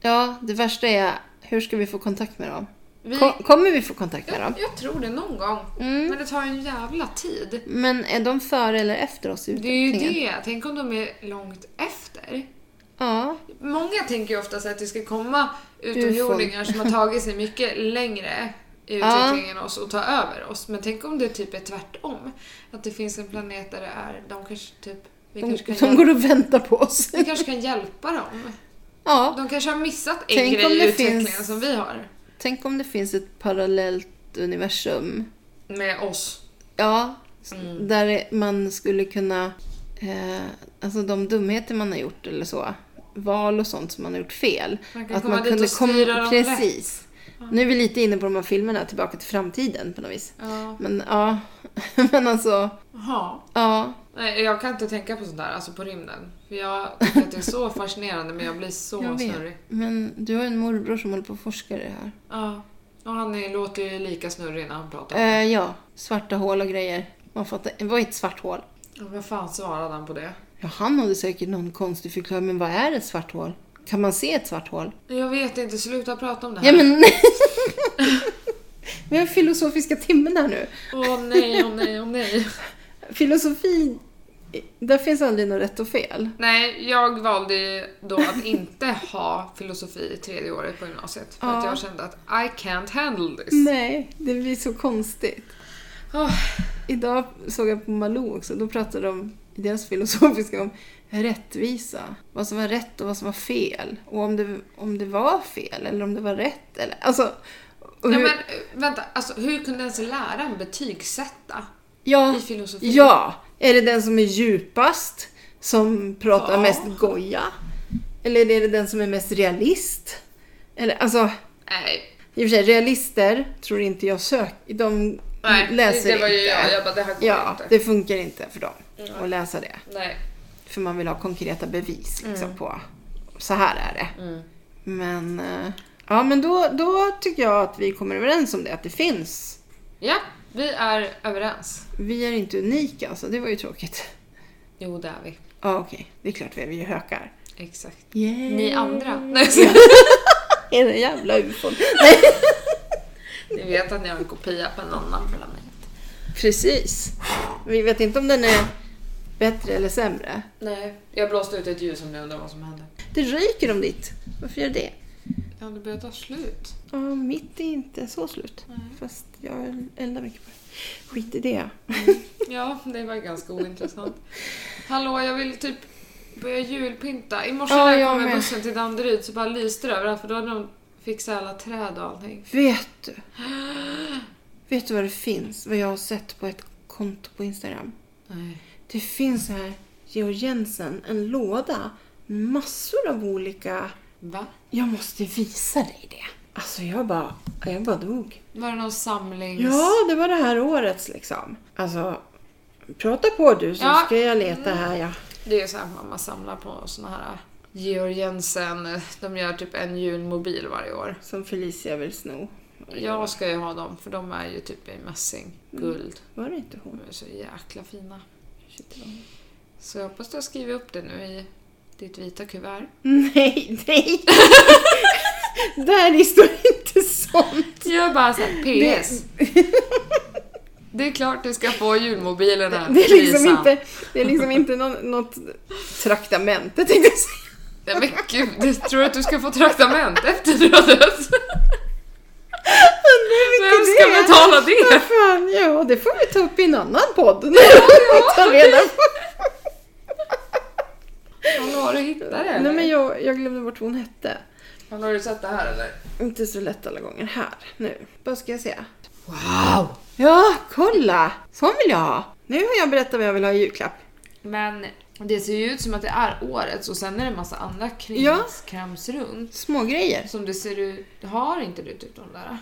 Speaker 1: Ja, det värsta är hur ska vi få kontakt med dem?
Speaker 2: Vi,
Speaker 1: Ko- Kommer vi få kontakt med dem?
Speaker 2: jag, jag tror det någon gång,
Speaker 1: Mm.
Speaker 2: men det tar en jävla tid.
Speaker 1: Men är de före eller efter oss i
Speaker 2: Det är ju
Speaker 1: utvecklingen?
Speaker 2: det. Tänk om de är långt efter.
Speaker 1: Ja,
Speaker 2: Många tänker ju oftast att det ska komma utomjordingar som har tagit sig mycket längre i
Speaker 1: Ja.
Speaker 2: utvecklingen än oss och ta över oss. Men tänk om det typ är tvärtom. Att det finns en planet där det är, de kanske typ, vi
Speaker 1: de,
Speaker 2: kanske kan,
Speaker 1: de
Speaker 2: hjälpa,
Speaker 1: går och väntar på oss.
Speaker 2: vi kanske kan hjälpa dem.
Speaker 1: Ja,
Speaker 2: De kanske har missat en
Speaker 1: Tänk om
Speaker 2: grej i
Speaker 1: det
Speaker 2: utvecklingen
Speaker 1: finns-
Speaker 2: som vi har.
Speaker 1: tänk om det finns ett parallellt universum.
Speaker 2: Med oss.
Speaker 1: Ja, s-
Speaker 2: Mm.
Speaker 1: där man skulle kunna... Eh, alltså de dumheter man har gjort eller så. Val och sånt som man har gjort fel.
Speaker 2: Man kan komma dit och
Speaker 1: kom-
Speaker 2: styra dem
Speaker 1: Precis. Nu är vi lite inne på de här filmerna, Tillbaka till framtiden på något vis.
Speaker 2: Ja.
Speaker 1: Men ja, men alltså,
Speaker 2: Jaha.
Speaker 1: ja.
Speaker 2: Nej, jag kan inte tänka på sånt där, alltså på rymden. För jag tycker att det är så fascinerande men jag blir så
Speaker 1: Jag vet.
Speaker 2: snurrig.
Speaker 1: Men du har ju en morbror som håller på och forskar i det här.
Speaker 2: Ja. Och han är, låter ju lika snurrig när han pratar.
Speaker 1: Eh, ja, svarta hål och grejer. Man fattar, eh, vad är ett svart hål?
Speaker 2: Ja, Vad fan svarade han på det?
Speaker 1: Ja, han hade säkert någon konstig förklaring, men vad är ett svart hål? Kan man se ett svart hål?
Speaker 2: Jag vet inte, sluta prata om det här.
Speaker 1: Ja, men... Vi har filosofiska timmen här nu.
Speaker 2: Åh nej, åh nej, åh nej.
Speaker 1: Filosofi, där finns aldrig något rätt och fel.
Speaker 2: Nej, jag valde ju då att inte ha filosofi i tredje året på gymnasiet. För att
Speaker 1: Ja. Mm.
Speaker 2: jag kände att I can't handle this. Ah,
Speaker 1: Nej, det blir så konstigt.
Speaker 2: Åh,
Speaker 1: Idag såg jag på Malou också, då pratade de i deras filosofiska om rättvisa. Vad som var rätt och vad som var fel. Och om det, om det var fel eller om det var rätt. Eller, alltså, och
Speaker 2: nej
Speaker 1: hur-
Speaker 2: men eh, vänta, alltså hur kunde ens läraren betygsätta
Speaker 1: ja,
Speaker 2: i filosofi?
Speaker 1: Ah, ja, är det den som är djupast som pratar
Speaker 2: Ja.
Speaker 1: mest goja? Eller är det den som är mest realist? Eller, alltså,
Speaker 2: Nej,
Speaker 1: i och för sig, realister tror inte jag söker. De
Speaker 2: nej
Speaker 1: läser
Speaker 2: det, det var ju
Speaker 1: inte.
Speaker 2: jag. Jag bara, det här går
Speaker 1: ja,
Speaker 2: inte.
Speaker 1: det funkar inte för dem att läsa det.
Speaker 2: Nej.
Speaker 1: För man vill ha konkreta bevis liksom,
Speaker 2: Mm.
Speaker 1: på så här är det. Men, eh, ja, men då, då tycker jag att vi kommer överens om det, att det finns.
Speaker 2: Ja, vi är överens.
Speaker 1: Vi är inte unika, så det var ju tråkigt.
Speaker 2: Jo, det är vi.
Speaker 1: Ja, okej. Det är klart vi är, vi är ju hökar.
Speaker 2: Exakt.
Speaker 1: Yeah.
Speaker 2: Ni andra.
Speaker 1: Mm.
Speaker 2: Nej, så-
Speaker 1: Är det jävla ufon? Nej.
Speaker 2: Ni vet att ni har en kopia på en annan planet.
Speaker 1: Precis. Vi vet inte om den är Bättre eller sämre?
Speaker 2: Nej, jag blåste ut ett ljus om ni undrar vad som hände.
Speaker 1: Det ryker om ditt. Varför gör det?
Speaker 2: Ja, det börjar ta slut.
Speaker 1: Ja, mitt är inte så slut.
Speaker 2: Nej.
Speaker 1: Fast jag eldar mycket på det. Skit i det.
Speaker 2: Ja, det var ganska ointressant. Hallå, jag vill typ börja julpynta. I morse
Speaker 1: Ja,
Speaker 2: när jag
Speaker 1: jag
Speaker 2: kom med
Speaker 1: med.
Speaker 2: bussen till Danderyd så bara lyste det överallt för då hade de fixat alla träd och allting.
Speaker 1: Vet du? Vet du vad det finns? Vad jag har sett på ett konto på Instagram.
Speaker 2: Nej.
Speaker 1: Det finns så här, Georg Jensen, en låda. Massor av olika...
Speaker 2: Va?
Speaker 1: Jag måste visa dig det. Alltså jag bara, jag bara dog.
Speaker 2: Var det någon samlings...
Speaker 1: Ja, det var det här årets liksom. Alltså, prata på du så
Speaker 2: Ja. Mm.
Speaker 1: ska jag leta här ja.
Speaker 2: Det är så här mamma samlar på såna här äh, Georg Jensen. De gör typ en julmobil varje år.
Speaker 1: Som Felicia vill sno.
Speaker 2: Jag ska ju ha dem för de är ju typ i mässing. Guld.
Speaker 1: Var det inte hon?
Speaker 2: De är så jäkla fina.
Speaker 1: Shit, det var hon.
Speaker 2: Så jag hoppas du har skrivit upp det nu i ditt vita kuvert.
Speaker 1: Nej, nej! Där står inte sånt.
Speaker 2: Jag bara såhär, PS. Det är klart du ska få julmobilen här.
Speaker 1: Det är liksom
Speaker 2: Lisa.
Speaker 1: inte, det är liksom inte någon, något traktamente tänkte jag säga.
Speaker 2: Nej men gud, du tror att du ska få traktament efter du har dött? Vem ska
Speaker 1: det är.
Speaker 2: betala det?
Speaker 1: Vad fan, ja det får vi ta upp i en annan podd. Ja, ta reda på.
Speaker 2: Hallå, har du hittat det? eller?
Speaker 1: Nej men jag, jag glömde bort vad hon hette.
Speaker 2: Har du sett det här eller?
Speaker 1: Inte så lätt alla gånger här nu. Vad ska jag säga?
Speaker 2: Wow!
Speaker 1: Ja, kolla! Sån vill jag ha! Nu har jag berättat vad jag vill ha i julklapp.
Speaker 2: Men det ser ju ut som att det är årets och sen är det en massa andra krams,
Speaker 1: Ja.
Speaker 2: krams runt.
Speaker 1: Små grejer.
Speaker 2: Som det ser ut... Har inte du typ de där?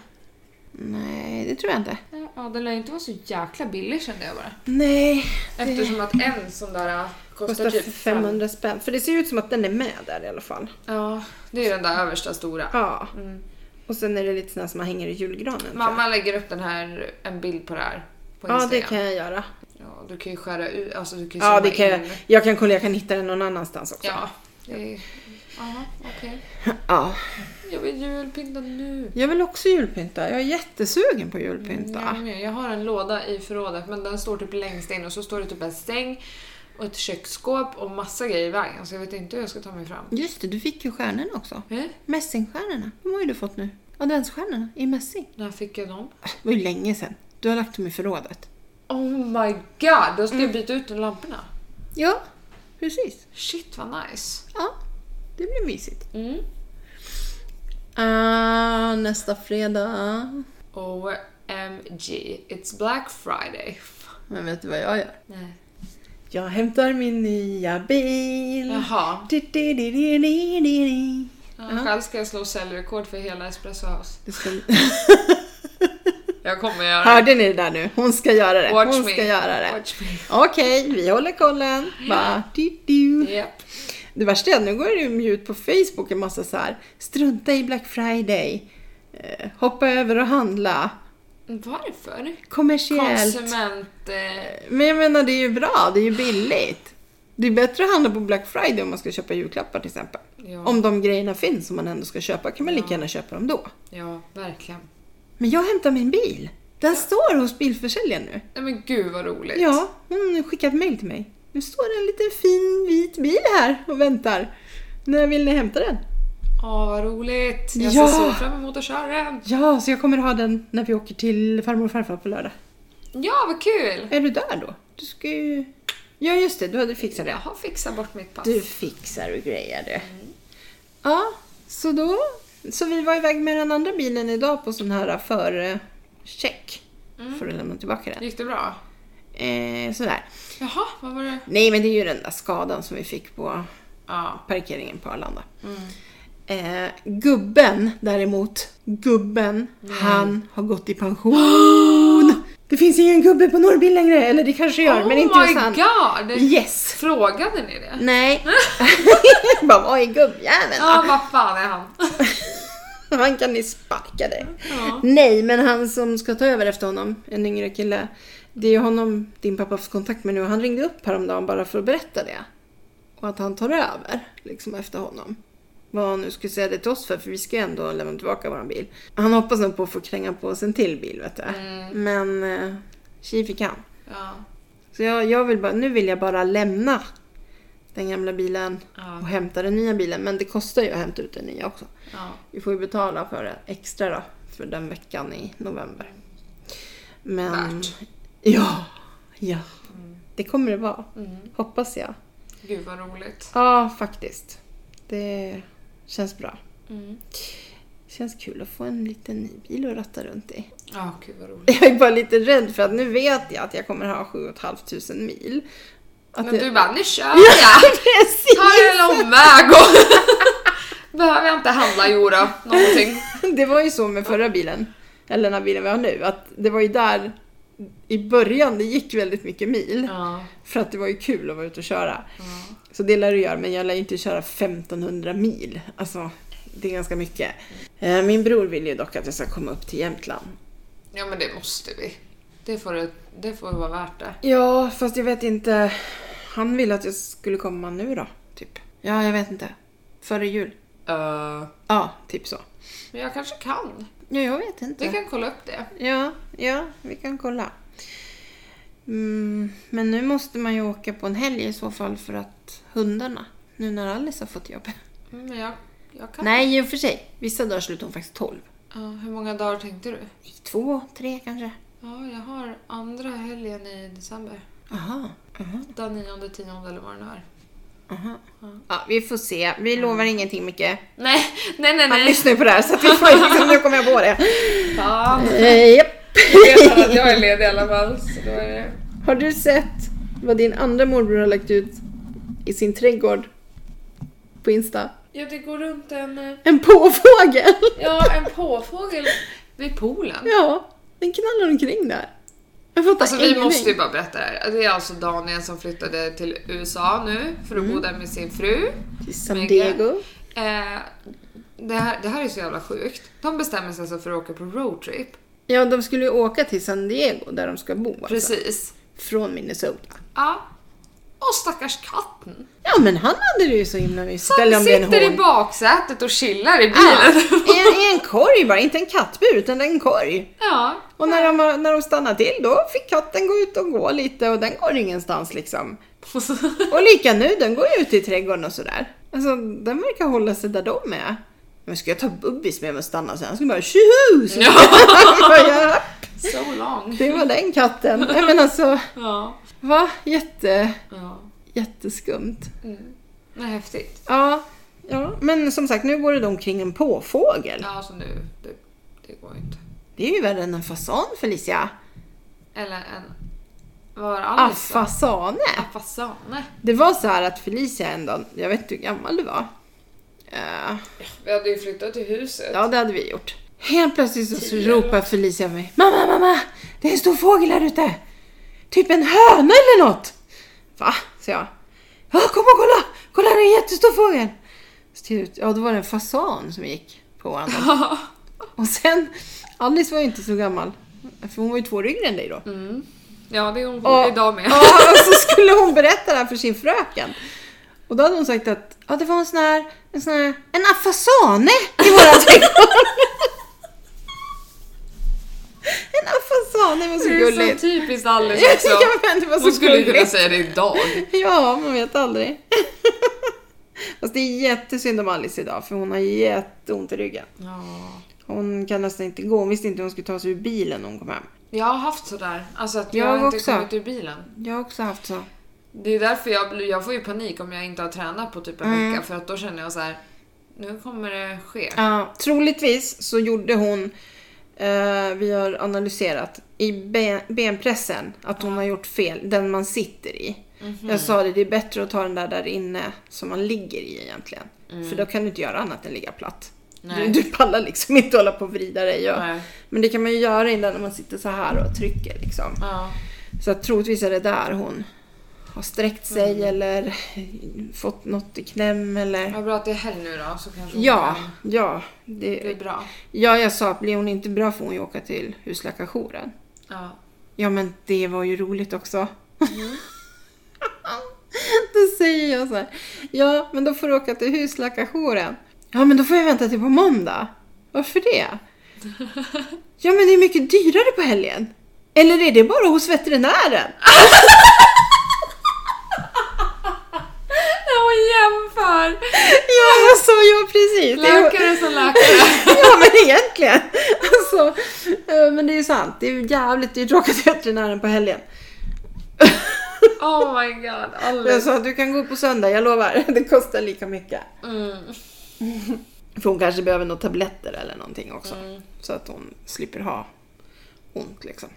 Speaker 1: Nej, det tror jag inte.
Speaker 2: Ja, den lär inte vara så jäkla billig kände jag bara.
Speaker 1: Nej,
Speaker 2: Eftersom att en sån där kostar,
Speaker 1: kostar
Speaker 2: typ
Speaker 1: 500 spänn. För det ser ut som att den är med där i alla fall.
Speaker 2: Ja, det är den där översta stora.
Speaker 1: Ja.
Speaker 2: Mm.
Speaker 1: Och sen är det lite sådana som man hänger i julgranen. tror jag.
Speaker 2: Mamma lägger upp den här, en bild på det här på
Speaker 1: Ja,
Speaker 2: Instagram.
Speaker 1: det kan jag göra.
Speaker 2: ja, du kan ju skära ut, alltså du kan ju
Speaker 1: Ja,
Speaker 2: zooma
Speaker 1: det kan jag.
Speaker 2: in.
Speaker 1: Jag kan kolla, jag kan hitta den någon annanstans också.
Speaker 2: Ja, det är... Jaha, okej.
Speaker 1: Ja.
Speaker 2: Jag vill julpynta nu.
Speaker 1: Jag vill också julpynta. Jag är jättesugen på julpynta.
Speaker 2: Jag, med. jag har en låda i förrådet men den står typ längst in och så står det typ en säng och ett köksskåp och massa grejer i vägen så jag vet inte hur jag ska ta mig fram.
Speaker 1: Just det, du fick ju stjärnorna också.
Speaker 2: Eh?
Speaker 1: Mässingstjärnorna, de har ju du fått nu. Adventsstjärnorna i mässing. Äh,
Speaker 2: När fick jag dem?
Speaker 1: Det var ju länge sedan. Du har lagt dem i förrådet.
Speaker 2: Oh my god! Då ska
Speaker 1: Mm.
Speaker 2: jag byta ut de lamporna.
Speaker 1: Ja, precis.
Speaker 2: Shit vad nice.
Speaker 1: Ja, det blir mysigt.
Speaker 2: Mm.
Speaker 1: Ah, nästa fredag.
Speaker 2: OMG, it's Black Friday.
Speaker 1: Men vet du vad jag gör?
Speaker 2: Nej.
Speaker 1: Jag hämtar min nya bil.
Speaker 2: Jaha.
Speaker 1: Di, di, di, di, di, di, di.
Speaker 2: Ja, Själv ska jag slå säljrekord för hela Espresso House.
Speaker 1: Du ska...
Speaker 2: Jag kommer göra
Speaker 1: Hörde ni det där nu? Hon ska göra det.
Speaker 2: det. Watch
Speaker 1: Hon
Speaker 2: me.
Speaker 1: ska göra det.
Speaker 2: Watch me.
Speaker 1: Okej, vi håller kollen. Bara, di, di.
Speaker 2: Japp.
Speaker 1: Det värsta är att nu går det ju ut på Facebook en massa så här. Strunta i Black Friday. Eh, hoppa över och handla.
Speaker 2: Varför?
Speaker 1: Kommersiellt.
Speaker 2: Konsument... Eh,
Speaker 1: Men jag menar, det är ju bra. Det är ju billigt. Det är bättre att handla på Black Friday om man ska köpa julklappar till exempel.
Speaker 2: Ja.
Speaker 1: Om de grejerna finns som man ändå ska köpa kan man lika gärna köpa dem då.
Speaker 2: ja, verkligen.
Speaker 1: Men jag hämtar min bil. Den står hos bilförsäljaren nu.
Speaker 2: Nej men gud vad roligt.
Speaker 1: Ja, hon har skickat mail till mig. Nu står det en liten fin vit bil här och väntar. När vill ni hämta den?
Speaker 2: Åh vad roligt. Jag
Speaker 1: Ja.
Speaker 2: ser så fram emot att köra den.
Speaker 1: Ja, så jag kommer ha den när vi åker till farmor och farfar på lördag.
Speaker 2: Ja vad kul.
Speaker 1: Är du där då? Du ska ju... Ja, just det. Du hade fixat
Speaker 2: Jag
Speaker 1: det.
Speaker 2: har fixat bort mitt pass.
Speaker 1: Du fixar och grejer du.
Speaker 2: Mm.
Speaker 1: Ja, så då... Så vi var iväg med den andra bilen idag på sån här förcheck.
Speaker 2: Mm.
Speaker 1: För att lämna tillbaka den.
Speaker 2: Gick det bra?
Speaker 1: Eh, sådär.
Speaker 2: Jaha, vad var det?
Speaker 1: Nej, men det är ju den där skadan som vi fick på
Speaker 2: Ja.
Speaker 1: parkeringen på Arlanda.
Speaker 2: Mm.
Speaker 1: Eh, gubben däremot, gubben,
Speaker 2: Mm.
Speaker 1: han har gått i pension. Det finns ingen gubbe på Norrbil längre, eller det kanske gör,
Speaker 2: oh
Speaker 1: men inte
Speaker 2: my
Speaker 1: hos han.
Speaker 2: god!
Speaker 1: Yes!
Speaker 2: Frågade ni det?
Speaker 1: Nej. Bara, vad är gubbjäveln?
Speaker 2: Ja, vad fan är han?
Speaker 1: Han kan ni sparka dig.
Speaker 2: Ja.
Speaker 1: Nej, men han som ska ta över efter honom, en yngre kille, det är ju honom din pappa har fått kontakt med nu. Han ringde upp häromdagen bara för att berätta det. Och att han tar över, liksom efter honom. Vad han nu skulle säga det till oss för, för vi ska ju ändå lämna tillbaka våran bil. Han hoppas nog på
Speaker 2: Mm.
Speaker 1: att få kränga på oss en till bil, vet du. Men eh, tji fick han.
Speaker 2: Ja.
Speaker 1: Så jag, jag vill bara, nu vill jag bara lämna den gamla bilen
Speaker 2: Ja.
Speaker 1: och hämta den nya bilen. Men det kostar ju att hämta ut den nya också.
Speaker 2: Ja.
Speaker 1: Vi får ju betala för det extra då, för den veckan i november. Men,
Speaker 2: Värt.
Speaker 1: ja, ja. Det kommer det vara, hoppas jag.
Speaker 2: Gud vad roligt.
Speaker 1: Ja, faktiskt. Det känns bra.
Speaker 2: Mm.
Speaker 1: Känns kul att få en liten ny bil att ratta runt i.
Speaker 2: Ja, gud vad roligt.
Speaker 1: Jag är bara lite rädd för att nu vet jag att jag kommer ha 7 500 mil. Att
Speaker 2: Men
Speaker 1: det-
Speaker 2: du bara, nu kör jag!
Speaker 1: Precis!
Speaker 2: Ta en lång väg och... Behöver jag inte handla, jodå, någonting.
Speaker 1: Det var ju så med förra bilen, eller den här bilen vi har nu, att det var ju där i början det gick väldigt mycket mil.
Speaker 2: Ja.
Speaker 1: För att det var ju kul att vara ute och köra. Så det lär du göra, men jag lär ju inte köra 1500 mil. Alltså, det är ganska mycket. Eh, Min bror vill ju dock att jag ska komma upp till Jämtland.
Speaker 2: ja, men det måste vi. Det får, det, det får vara värt det.
Speaker 1: Ja, fast jag vet inte. Han ville att jag skulle komma nu då, typ. Ja, jag vet inte. Före jul.
Speaker 2: Eh,
Speaker 1: Ja, typ så.
Speaker 2: Men jag kanske kan.
Speaker 1: Ja, jag vet inte.
Speaker 2: Vi kan kolla upp det.
Speaker 1: Ja, ja, vi kan kolla. Mm, men nu måste man ju åka på en helg i så fall för att hundarna, nu när Alice har fått jobb.
Speaker 2: Mm, Men jag, jag kan.
Speaker 1: Nej, i och för sig. Vissa dagar slutar hon faktiskt 12.
Speaker 2: Ja, hur många dagar tänkte du?
Speaker 1: Nej, Två, tre kanske.
Speaker 2: Ja, jag har andra helgen i december.
Speaker 1: Aha, aha,
Speaker 2: Den nionde, tionde eller vad det nu är.
Speaker 1: aha. Ja, vi får se. Vi lovar ingenting mycket.
Speaker 2: Nej, nej, nej,
Speaker 1: Han
Speaker 2: nej.
Speaker 1: lyssnar ju på det här så att vi får liksom, nu kommer jag på det.
Speaker 2: Ja,
Speaker 1: Eh, japp.
Speaker 2: jag vet att jag är ledig i alla fall. Så då är det...
Speaker 1: Har du sett vad din andra morbror har lagt ut i sin trädgård? På Insta?
Speaker 2: Ja, det går runt en, eh,
Speaker 1: En påfågel!
Speaker 2: ja, en påfågel vid poolen.
Speaker 1: Ja, den knallar omkring där. Jag fattar
Speaker 2: Alltså vi
Speaker 1: ingenting.
Speaker 2: måste ju bara berätta det här. Det är alltså Daniel som flyttade till USA nu för att bo där med sin fru.
Speaker 1: Till San
Speaker 2: Mega.
Speaker 1: Diego.
Speaker 2: Eh, det, här, det här är så jävla sjukt. De bestämmer sig alltså för att åka på roadtrip.
Speaker 1: Ja, de skulle ju åka till San Diego där de ska bo alltså.
Speaker 2: Precis.
Speaker 1: Från Minnesota.
Speaker 2: Ja. Och stackars katten.
Speaker 1: Ja, men han hade det ju så himla mysigt. Eller
Speaker 2: Som
Speaker 1: om det är en
Speaker 2: sitter i
Speaker 1: hund.
Speaker 2: baksätet och chillar i
Speaker 1: Ja,
Speaker 2: bilen.
Speaker 1: i en, I en korg bara, inte en kattbur utan en korg.
Speaker 2: Ja.
Speaker 1: Och när de, har- när de stannar till då fick katten gå ut och gå lite och den går ingenstans liksom. Och lika nu, den går ju ut i trädgården och sådär. Alltså den verkar hålla sig där de är. Men ska jag ta Bubbis med mig och stanna sen? Han skulle bara tjoho! Så- Ja.
Speaker 2: So long.
Speaker 1: det var den katten. Nej men alltså,
Speaker 2: Ja.
Speaker 1: va? Jätte,
Speaker 2: ja.
Speaker 1: jätteskumt.
Speaker 2: Mm. Men häftigt.
Speaker 1: Ja, ja, men som sagt nu går det omkring en påfågel.
Speaker 2: Ja, alltså nu. Det, det går ju inte.
Speaker 1: Det är ju värre än en fasan Felicia.
Speaker 2: Eller en... Vad var Alice då?
Speaker 1: Affasane.
Speaker 2: Affasane.
Speaker 1: Ah, Det var så här att Felicia en dag, jag vet inte hur gammal du var. Eh,
Speaker 2: Vi hade ju flyttat till huset.
Speaker 1: Ja, det hade vi gjort. Helt plötsligt så, så ropar Felicia mig. Mamma, mamma! Det är en stor fågel här ute! Typ en höna eller något! Va? sa jag. Ja, kom och kolla! Kolla, det är en jättestor fågel! Så tittade jag ut. Ja, då var det en fasan som gick på vår andra. Och sen, Alice var ju inte så gammal. För hon var ju två år yngre än dig då.
Speaker 2: Mm. Ja, det är hon
Speaker 1: Ja.
Speaker 2: idag med.
Speaker 1: Ja, och så skulle hon berätta det här för sin fröken. Och då hade hon sagt att ja, det var en sån här, en sån här, en afasane i våra trädgård. en afasane var så
Speaker 2: Det är
Speaker 1: gulligt.
Speaker 2: så typiskt Alice också.
Speaker 1: Ja, men det var
Speaker 2: Hon
Speaker 1: så
Speaker 2: skulle ju kunna
Speaker 1: gulligt.
Speaker 2: säga det idag.
Speaker 1: Ja, man vet aldrig. Fast det är jättesynd om Alice idag för hon har jätteont i ryggen.
Speaker 2: Ja.
Speaker 1: Hon kan nästan inte gå. Hon visste inte hur hon skulle ta sig ur bilen när hon kom hem.
Speaker 2: Jag har haft sådär, alltså att
Speaker 1: Jag
Speaker 2: jag, inte
Speaker 1: också.
Speaker 2: kommit ur bilen.
Speaker 1: Jag har också haft så.
Speaker 2: Det är därför jag, blir- jag får ju panik om jag inte har tränat på typ en
Speaker 1: Mm.
Speaker 2: vecka för att då känner jag så här. nu kommer det ske.
Speaker 1: Ja, troligtvis så gjorde hon, eh, vi har analyserat, i ben, benpressen att hon har gjort fel, den man sitter i.
Speaker 2: Mhm. Mm.
Speaker 1: Jag sa det, det är bättre att ta den där där inne som man ligger i egentligen. För då kan du inte göra annat än ligga platt. Du,
Speaker 2: Mm. Nej.
Speaker 1: du pallar liksom inte hålla på och vrida dig. Och,
Speaker 2: Nej.
Speaker 1: men det kan man ju göra innan när man sitter så här och trycker liksom.
Speaker 2: Ja.
Speaker 1: Så att troligtvis är det där hon har sträckt sig
Speaker 2: Mm.
Speaker 1: eller fått något i knäm eller...
Speaker 2: Vad bra att det är helg nu då så kanske hon
Speaker 1: Ja,
Speaker 2: kan-
Speaker 1: ja.
Speaker 2: Det blir bra.
Speaker 1: Ja, jag sa att blir hon inte bra får hon ju åka till husläkarjouren.
Speaker 2: Ja.
Speaker 1: Ja, men det var ju roligt också. då säger jag så här. Ja, men då får du åka till husläkarjouren. Ja, men då får jag vänta till på måndag. Varför det? Ja, men det är mycket dyrare på helgen. Eller är det bara hos veterinären?
Speaker 2: När hon jämför
Speaker 1: Ja, alltså, ja precis. Det är-
Speaker 2: läkare som läkare.
Speaker 1: Ja, men egentligen. Alltså, eh, men det är ju sant. Det är ju jävligt dyrt att åka till veterinären på helgen.
Speaker 2: Oh my god,
Speaker 1: Jag
Speaker 2: alldeles.
Speaker 1: sa du kan gå på söndag, jag lovar. Det kostar lika mycket.
Speaker 2: Mm.
Speaker 1: För hon kanske behöver några tabletter eller någonting också.
Speaker 2: Mm.
Speaker 1: Så att hon slipper ha ont liksom.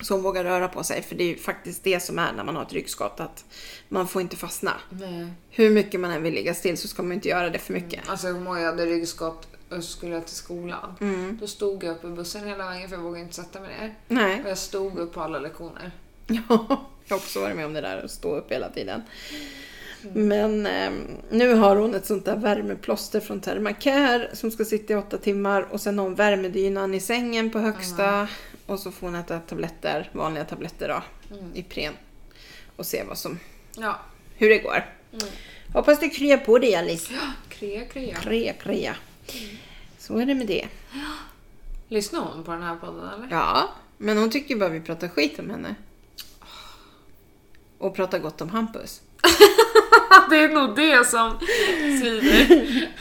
Speaker 1: Så hon vågar röra på sig. För det är ju faktiskt det som är när man har ett ryggskott. Att man får inte fastna.
Speaker 2: Nej.
Speaker 1: Hur mycket man än vill ligga still så ska man inte göra det för mycket.
Speaker 2: Mm. Alltså jag kommer ihåg jag hade ryggskott och skulle till skolan. Då stod jag uppe i bussen hela vägen för jag vågade inte sätta mig ner.
Speaker 1: Nej.
Speaker 2: Och jag stod upp på alla lektioner.
Speaker 1: Ja, jag har också varit med om det där att stå upp hela tiden. Men ehm, nu har hon ett sånt där värmeplåster från Thermacare som ska sitta i åtta timmar och sen har hon värmedynan i sängen på högsta och så får hon äta tabletter, vanliga tabletter då, Ipren. Och se vad som,
Speaker 2: Mm. Ja.
Speaker 1: hur det går. Hoppas du kryar på dig Alice.
Speaker 2: Krya, krya.
Speaker 1: Krya, krya. Så är det med det.
Speaker 2: Lyssnar hon på den här podden eller?
Speaker 1: Ja, men hon tycker bara vi pratar skit om henne. Och pratar gott om Hampus.
Speaker 2: Det är nog det som svider.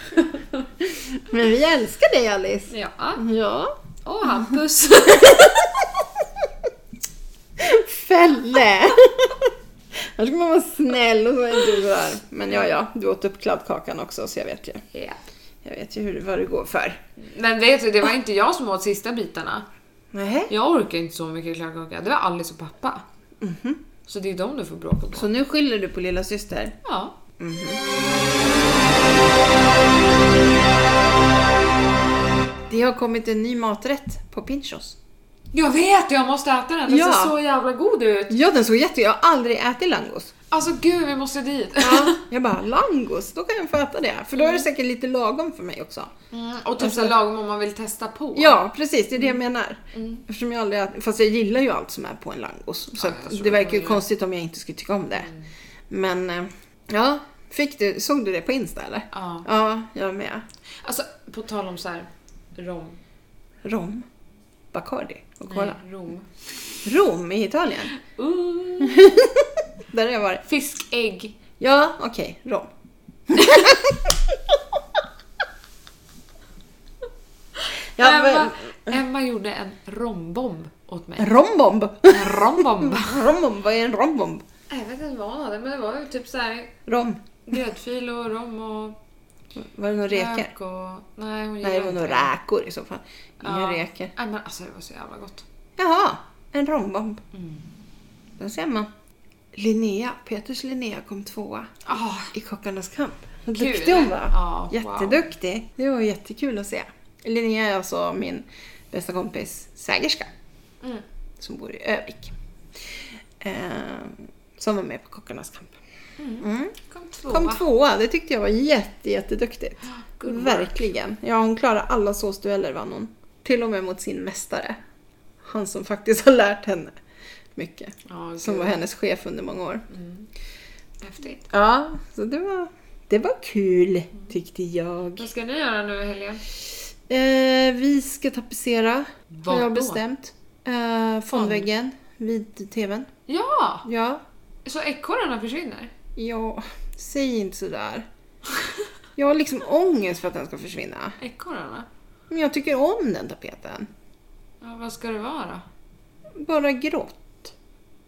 Speaker 1: Men vi älskar dig Alice.
Speaker 2: Ja.
Speaker 1: Ja.
Speaker 2: Och Hampus.
Speaker 1: Fälle! Här ska man vara snäll och så är du sådär. Men ja, ja, du åt upp kladdkakan också så jag vet ju.
Speaker 2: Ja.
Speaker 1: Jag vet ju hur, vad du går för.
Speaker 2: Men vet du, det var inte jag som åt sista bitarna.
Speaker 1: Nej.
Speaker 2: Jag orkar inte så mycket kladdkaka. Det var Alice och pappa. Så det är dem du får bråka på.
Speaker 1: Så nu skyller du på lilla syster.
Speaker 2: Ja.
Speaker 1: Det har kommit en ny maträtt på Pinchos.
Speaker 2: Jag vet, jag måste äta den. Den
Speaker 1: Ja.
Speaker 2: ser så jävla god ut.
Speaker 1: Ja, den såg jätte... Jag har aldrig ätit langos.
Speaker 2: Alltså gud, vi måste dit.
Speaker 1: Jag bara, langos? Då kan jag få äta det. För då är det säkert lite lagom för mig också.
Speaker 2: Mm, och typ så här lagom om man vill testa på. Mm.
Speaker 1: Ja, precis. Det är det jag menar. Eftersom jag aldrig ätit, fast jag gillar ju allt som är på en langos. Så
Speaker 2: Ja, jag
Speaker 1: att
Speaker 2: tror
Speaker 1: det
Speaker 2: det Mm.
Speaker 1: verkar ju
Speaker 2: kommer ju.
Speaker 1: konstigt om jag inte skulle tycka om det. Men, eh, ja. Fick du, såg du det på Insta eller?
Speaker 2: Ja.
Speaker 1: Ja, jag med.
Speaker 2: Alltså, på tal om så här rom.
Speaker 1: Rom. Bacardi och Cola.
Speaker 2: Nej, rom.
Speaker 1: Rom i Italien.
Speaker 2: Uh,
Speaker 1: Där har jag varit.
Speaker 2: fiskägg.
Speaker 1: Ja, okej. rom. ja,
Speaker 2: Emma,
Speaker 1: men,
Speaker 2: Emma gjorde en rombomb åt mig.
Speaker 1: rombomb.
Speaker 2: En rombomb.
Speaker 1: rombomb, vad är en rombomb?
Speaker 2: jag vet inte vad hon hade, men det var ju typ så här
Speaker 1: Rom.
Speaker 2: gräddfil och rom och
Speaker 1: Var det några reker?
Speaker 2: lök och... Nej, hon
Speaker 1: Nej, det var nog räkor i så fall. Inga
Speaker 2: Ja.
Speaker 1: räkor.
Speaker 2: Nej, men alltså det var så jävla gott.
Speaker 1: Jaha, en rombomb. Där ser man. Linnea, Peters Linnea kom tvåa
Speaker 2: Ah,
Speaker 1: i Kockarnas kamp. Vad
Speaker 2: Kul.
Speaker 1: duktig hon var.
Speaker 2: Ja, wow.
Speaker 1: Jätteduktig. Det var jättekul att se. Linnea är alltså min bästa kompis svägerska
Speaker 2: Mm.
Speaker 1: som bor i Övik. Eh, som var med på Kockarnas kamp. Mm.
Speaker 2: kom tvåa.
Speaker 1: Kom tvåa, det tyckte jag var jätte, jätteduktigt.
Speaker 2: Good work.
Speaker 1: Verkligen. Ja, hon klarar alla såsdueller vann hon. Till och med mot sin mästare. Han som faktiskt har lärt henne mycket.
Speaker 2: Ja,
Speaker 1: Som
Speaker 2: gud.
Speaker 1: var hennes chef under många år.
Speaker 2: Häftigt.
Speaker 1: Ja, så det var, det var kul tyckte jag.
Speaker 2: Vad ska ni göra nu i helgen?
Speaker 1: Eh, vi ska tapetsera.
Speaker 2: Vart
Speaker 1: Har jag
Speaker 2: då?
Speaker 1: bestämt. Eh, fondväggen vid tvn.
Speaker 2: Ja!
Speaker 1: Ja.
Speaker 2: Så ekorrarna försvinner?
Speaker 1: Ja, säg inte sådär. Jag har liksom ångest för att den ska försvinna.
Speaker 2: Ekorrarna?
Speaker 1: Men jag tycker om den tapeten.
Speaker 2: Ja, vad ska det vara då?
Speaker 1: Bara grått.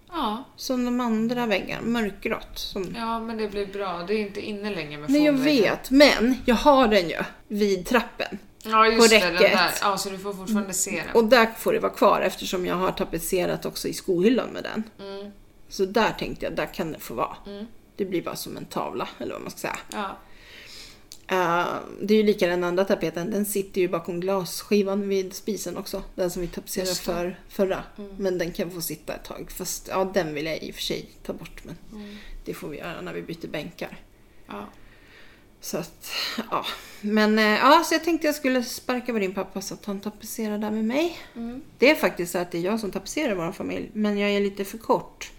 Speaker 2: Ja,
Speaker 1: Som de andra väggarna, mörkgrått. Som...
Speaker 2: ja men det blir bra. Det är inte inne längre med
Speaker 1: Nej, jag
Speaker 2: fondväggen.
Speaker 1: vet, men jag har den ju vid trappen.
Speaker 2: Ja, just
Speaker 1: På
Speaker 2: det. Den
Speaker 1: räcket.
Speaker 2: där. Ja, så du får fortfarande se den.
Speaker 1: Och där får det vara kvar eftersom jag har tapetserat också i skohyllan med den.
Speaker 2: Mm,
Speaker 1: Så där tänkte jag, där kan det få vara.
Speaker 2: Mm.
Speaker 1: Det blir bara som en tavla, eller vad man ska säga.
Speaker 2: ja.
Speaker 1: Eh, det är ju lika den andra tapeten, den sitter ju bakom glasskivan vid spisen också. Den som vi tapetserade
Speaker 2: Just det. Mm.
Speaker 1: för, förra. Men den kan få sitta ett tag. Fast ja, den vill jag i och för sig ta bort. Men det får vi göra när vi byter bänkar.
Speaker 2: mm. ja.
Speaker 1: Så att, ja. Men eh, ja, så jag tänkte jag skulle sparka på din pappa så att han tapetserar där med mig.
Speaker 2: Mm.
Speaker 1: Det är faktiskt så att det är jag som tapetserar vår familj, men jag är lite för kort.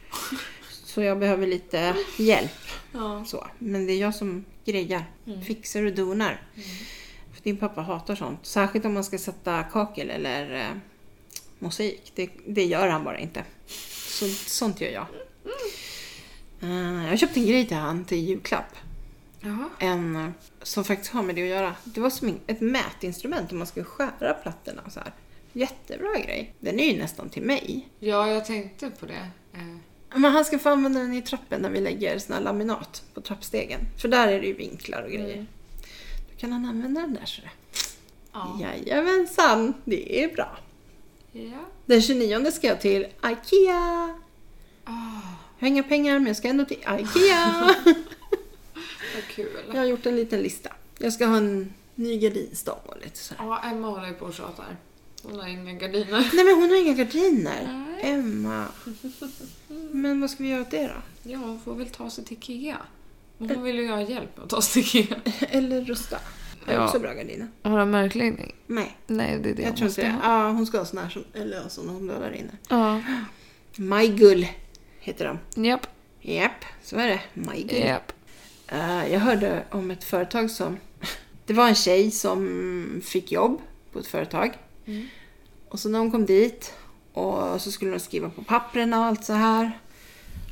Speaker 1: Så jag behöver lite hjälp.
Speaker 2: ja.
Speaker 1: Så. Men det är jag som grejar, fixar och donar. För din pappa hatar sånt. Särskilt om man ska sätta kakel eller eh, mosaik. Det, det gör han bara inte. Så, sånt gör jag. Eh, jag köpte en grej till han till julklapp.
Speaker 2: Jaha.
Speaker 1: En eh, som faktiskt har med det att göra. Det var som ett mätinstrument om man skulle skära plattorna. Så här. Jättebra grej. Den är ju nästan till mig.
Speaker 2: Ja, jag tänkte på det. Eh,
Speaker 1: Men han ska få använda den i trappen när vi lägger sån här laminat på trappstegen. För där är det ju vinklar och grejer.
Speaker 2: Mm.
Speaker 1: Då kan han använda den där så det.
Speaker 2: Ja.
Speaker 1: Jajamensan, det är bra.
Speaker 2: ja.
Speaker 1: Den 29 ska jag till IKEA.
Speaker 2: Ah,
Speaker 1: Jag har inga pengar men jag ska ändå till IKEA.
Speaker 2: vad kul.
Speaker 1: jag har gjort en liten lista. Jag ska ha en ny gardinstång och lite sådär.
Speaker 2: Ja, Emma håller ju på och tjatar. Hon har inga gardiner.
Speaker 1: Nej men hon har inga gardiner.
Speaker 2: Nej.
Speaker 1: Emma. Men vad ska vi göra åt det då?
Speaker 2: Ja, hon får väl ta sig till IKEA. Men Hon vill ju ha hjälp med att ta sig till IKEA.
Speaker 1: Eller rusta. Har
Speaker 2: Ja.
Speaker 1: också bra gardiner?
Speaker 2: Har hon märkläggning?
Speaker 1: Nej,
Speaker 2: Nej, det är det
Speaker 1: jag
Speaker 2: hon
Speaker 1: tror
Speaker 2: måste
Speaker 1: inte det.
Speaker 2: ha.
Speaker 1: Ja, hon ska ha sån här som, eller ja, sån hon blödar inne.
Speaker 2: Ja.
Speaker 1: Majgull heter de.
Speaker 2: Japp,
Speaker 1: Japp, så är det. Majgull.
Speaker 2: japp.
Speaker 1: Eh, Jag hörde om ett företag som... Det var en tjej som fick jobb på ett företag.
Speaker 2: Mm.
Speaker 1: Och så när hon kom dit och så skulle hon skriva på papperna och allt så här.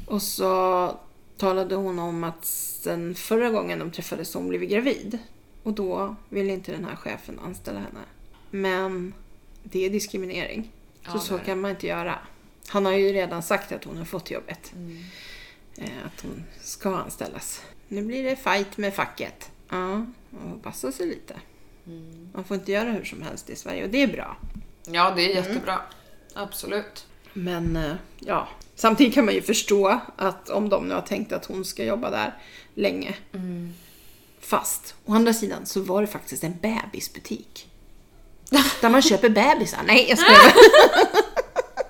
Speaker 1: Och så talade hon om att sen förra gången de träffades så hon blev gravid. Och då ville inte den här chefen anställa henne. Men det är diskriminering. Så
Speaker 2: Ja,
Speaker 1: så
Speaker 2: det är det.
Speaker 1: kan man inte göra. Han har ju redan sagt att hon har fått jobbet.
Speaker 2: Mm.
Speaker 1: Eh, att hon ska anställas. Nu blir det fight med facket. Ja, man får passa sig lite.
Speaker 2: Mm.
Speaker 1: Man får inte göra hur som helst i Sverige och det är bra.
Speaker 2: Ja, det är
Speaker 1: Mm.
Speaker 2: jättebra. Absolut.
Speaker 1: Men eh, ja, samtidigt kan man ju förstå att om de nu har tänkt att hon ska jobba där länge. Fast Mm. å andra sidan så var det faktiskt en bebisbutik. Där man köper bebisar. Nej, jag skojar.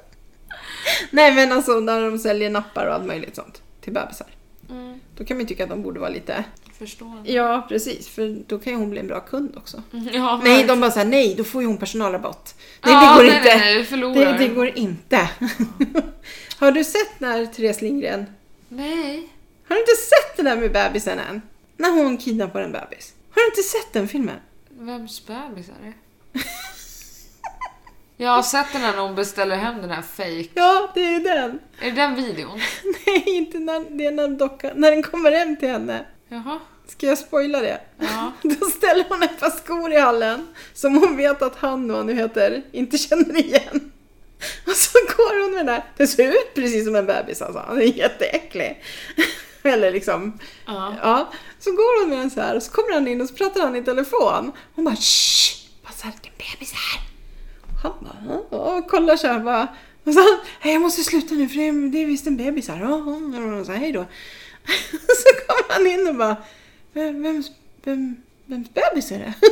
Speaker 1: Nej, men alltså när de säljer nappar och allt möjligt sånt till bebisar.
Speaker 2: Mm.
Speaker 1: Då kan man ju tycka att de borde vara lite
Speaker 2: Förstår.
Speaker 1: Ja, precis. För då kan ju hon bli en bra kund också.
Speaker 2: Ja,
Speaker 1: Nej, de bara såhär, nej, då får ju hon personalrabatt. Nej,
Speaker 2: Ja,
Speaker 1: det går
Speaker 2: nej,
Speaker 1: inte.
Speaker 2: Nej, nej, vi förlorar.
Speaker 1: det, det går inte. har du sett när Therese Lindgren,
Speaker 2: Nej.
Speaker 1: har du inte sett det där med bebisen än? När hon kidnappar en bebis. Har du inte sett den filmen?
Speaker 2: Vems bebis är det? Jag har sett den här när hon beställer hem den här fake.
Speaker 1: Ja, det är den.
Speaker 2: Är det den videon?
Speaker 1: Nej, inte när, det är när dockan, när den kommer hem till henne.
Speaker 2: Jaha.
Speaker 1: Ska jag spoila det?
Speaker 2: Ja.
Speaker 1: Då ställer hon ett par skor i hallen som hon vet att han, vad han nu heter, inte känner igen. Och så går hon med den där. Den ser ut precis som en bebis alltså. Den är jätteäcklig. Eller liksom,
Speaker 2: Ja.
Speaker 1: ja. Så går hon med den så här och så kommer han in och så pratar han i telefon. Hon bara shh, vad sa det är en bebis här? Han bara, "Ja", och kollar så här bara. Och så, hej jag måste sluta nu för det är, det är visst en bebis här. Ja, ja, ja." Så här, hej då. Så kommer han in och bara, "Vem- vems, vem, vems bebis är det?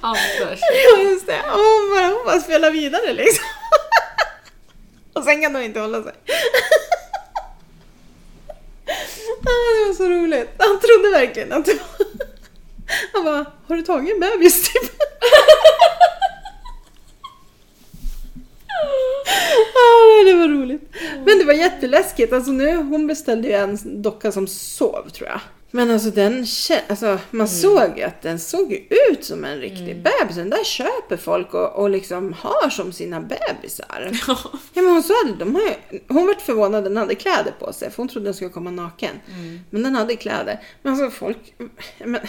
Speaker 2: Anders.
Speaker 1: Ja, just det. Och hon bara, hon bara spelar vidare liksom. Och sen kan hon inte hålla sig. Ah, det var så roligt. Han trodde verkligen att det var... Han bara, har du tagit en bebis typ? Ah, det var roligt. Men det var jätteläskigt. Alltså nu, hon beställde ju en docka som sov tror jag. Men alltså den kä- alltså, man såg ju att den såg ju ut som en riktig bebis. Den där köper folk och, och liksom har som sina bebisar.
Speaker 2: Ja.
Speaker 1: Ja, men hon sa det, de har, ju- hon vart förvånad, den hade kläder på sig för hon trodde den skulle komma naken. Men den hade kläder. Men alltså folk, men,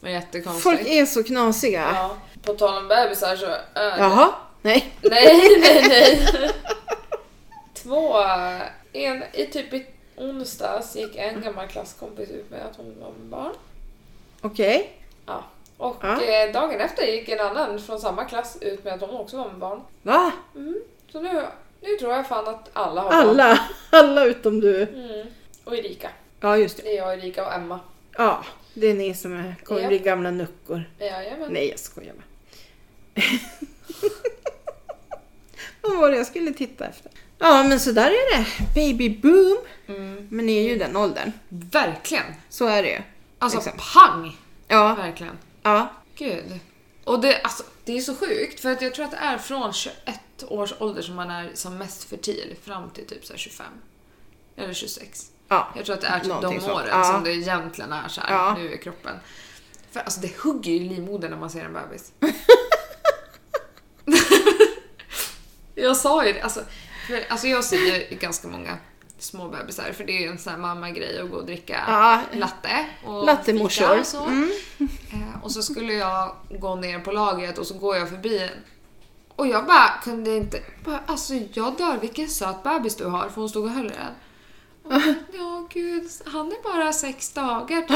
Speaker 2: Men jättekonstigt.
Speaker 1: folk är så knasiga.
Speaker 2: Ja. På tal om bebisar så... Äh,
Speaker 1: Jaha, nej.
Speaker 2: Nej, nej, nej. Två... En, i typ i onsdags gick
Speaker 1: Mm.
Speaker 2: en gammal klasskompis ut med att hon var med barn.
Speaker 1: Okej.
Speaker 2: Ja. Och
Speaker 1: Ja.
Speaker 2: eh, dagen efter gick en annan från samma klass ut med att hon också var med barn.
Speaker 1: Va?
Speaker 2: Mm. Så nu, nu tror jag fan att alla har barn.
Speaker 1: Alla, alla utom du.
Speaker 2: Mm. Och Erika.
Speaker 1: Ja, just det.
Speaker 2: Det är jag, Erika och Emma.
Speaker 1: Ja, det är ni som är, kommer
Speaker 2: Ja.
Speaker 1: bli gamla nuckor.
Speaker 2: Jajamän.
Speaker 1: Nej, jag skojar bara. Vad var det jag skulle titta efter? Ja, men så där är det. Baby boom.
Speaker 2: Mm.
Speaker 1: Men ni är ju i den åldern.
Speaker 2: Verkligen!
Speaker 1: Så är det ju.
Speaker 2: Alltså
Speaker 1: Exakt.
Speaker 2: pang!
Speaker 1: Ja,
Speaker 2: Verkligen.
Speaker 1: ja.
Speaker 2: Gud. Och det, alltså, det är så sjukt för att jag tror att det är från 21 års ålder som man är som mest fertil fram till typ så här 25. Eller 26.
Speaker 1: Ja.
Speaker 2: Jag tror att det är typ
Speaker 1: Någonting
Speaker 2: de
Speaker 1: sånt.
Speaker 2: åren
Speaker 1: Ja.
Speaker 2: som det egentligen är så här,
Speaker 1: Ja.
Speaker 2: nu är kroppen. För alltså det hugger ju i livmodern när man ser en bebis. jag sa ju det. Alltså, för, alltså jag ser ju ganska många små bebisar för det är ju en sån här mamma-grej att gå och dricka
Speaker 1: Ja. Mm.
Speaker 2: latte. Och
Speaker 1: Lattemorsor.
Speaker 2: fika Och, så. Eh, och så skulle jag gå ner på lagret och så går jag förbi en. Och jag bara kunde inte... Bara, alltså jag dör, vilken söt bebis du har. För hon stod och höll i den. Och jag bara, Ja gud, han är bara sex dagar typ.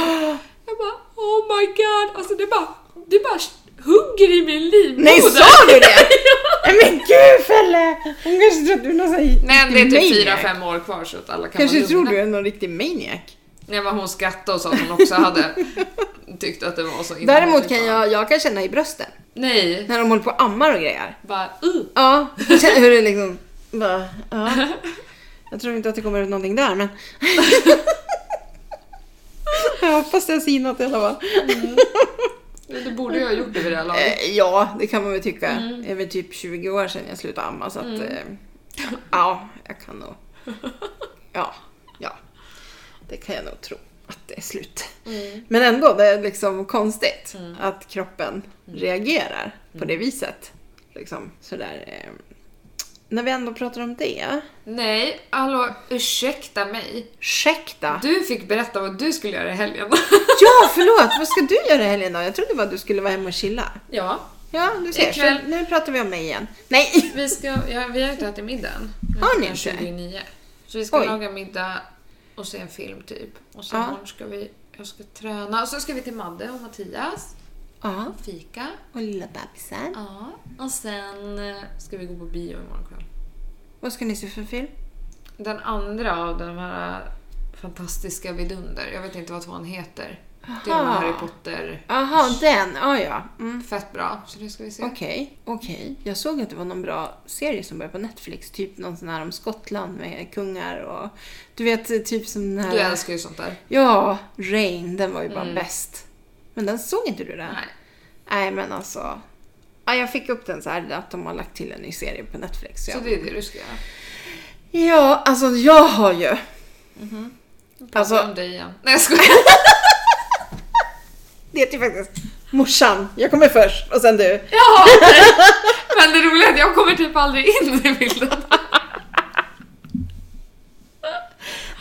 Speaker 2: Jag bara oh my god, alltså det bara, det bara hugger i min livmoder.
Speaker 1: Nej, sa du det? Nej men gud Felle! Hon kanske tror att du är någon sån här
Speaker 2: Men det är
Speaker 1: riktig
Speaker 2: typ fyra
Speaker 1: maniac.
Speaker 2: fem år kvar så att alla kan
Speaker 1: Kanske
Speaker 2: vara
Speaker 1: tror
Speaker 2: lugna.
Speaker 1: du är någon riktig maniac.
Speaker 2: Nej men hon skrattade och sa att hon också hade tyckt att det var så himla
Speaker 1: Däremot
Speaker 2: härligt.
Speaker 1: kan jag, jag kan känna i brösten.
Speaker 2: Nej,
Speaker 1: När de håller på och ammar och grejer.
Speaker 2: bara uh.
Speaker 1: Ja, jag känner hur det liksom bara, ja. Jag tror inte att det kommer ut någonting där men. Jag hoppas det har sinat i alla fall.
Speaker 2: Det borde jag ha gjort det vid det här laget.
Speaker 1: Eh, ja, det kan man väl tycka.
Speaker 2: Mm.
Speaker 1: Det är väl typ 20 år sedan jag slutade amma så att eh, ja, jag kan nog. Ja, ja. Det kan jag nog tro att det är slut.
Speaker 2: Mm.
Speaker 1: Men ändå, det är liksom konstigt att kroppen
Speaker 2: Mm.
Speaker 1: reagerar på det viset. Liksom sådär. Eh, när vi ändå pratar om det.
Speaker 2: Nej, hallå ursäkta mig.
Speaker 1: Ursäkta!
Speaker 2: Du fick berätta vad du skulle göra i helgen.
Speaker 1: Ja, förlåt! Vad ska du göra i helgen då? Jag trodde bara du skulle vara hemma och chilla.
Speaker 2: ja,
Speaker 1: Ja, du ser.
Speaker 2: Ikväll.
Speaker 1: Så, nu pratar vi om mig igen. Nej!
Speaker 2: vi, ska, ja, vi har inte ätit middag än. Nu är
Speaker 1: Har ni
Speaker 2: klockan
Speaker 1: inte?
Speaker 2: 29. Så vi ska
Speaker 1: Oj.
Speaker 2: laga middag och se en film typ. Och sen
Speaker 1: Ja.
Speaker 2: imorgon ska vi, jag ska träna. Och sen ska vi till Madde och Mattias.
Speaker 1: Ja,
Speaker 2: Fika.
Speaker 1: och lilla bebisen.
Speaker 2: Ja. Och sen eh, ska vi gå på bio imorgon kväll.
Speaker 1: Vad ska ni se för film?
Speaker 2: Den andra av de här eh, fantastiska vidunder. Jag vet inte vad tvåan heter. Det är
Speaker 1: Aha.
Speaker 2: med Harry Potter.
Speaker 1: Jaha, den. Ah, ja, mm.
Speaker 2: Fett bra. Så det ska vi se.
Speaker 1: Okej, okej. Jag såg att det var någon bra serie som började på Netflix. Typ någon sån här om Skottland med kungar och... Du vet, typ som den här...
Speaker 2: Du älskar ju sånt där.
Speaker 1: Ja, Rain. Den var ju bara bäst. Men den såg inte du den?
Speaker 2: Nej.
Speaker 1: Mm. Nej, men alltså... Ja, jag fick upp den så här att de har lagt till en ny serie på Netflix. Så
Speaker 2: Så
Speaker 1: jag...
Speaker 2: det är det du ska göra.
Speaker 1: Ja, alltså jag har ju... Mhm.
Speaker 2: Alltså...
Speaker 1: Alltså,
Speaker 2: Om dig igen. Nej jag skojar.
Speaker 1: det är typ faktiskt morsan. Jag kommer först och sen du.
Speaker 2: Ja, men det roliga är att jag kommer typ aldrig in i bilden.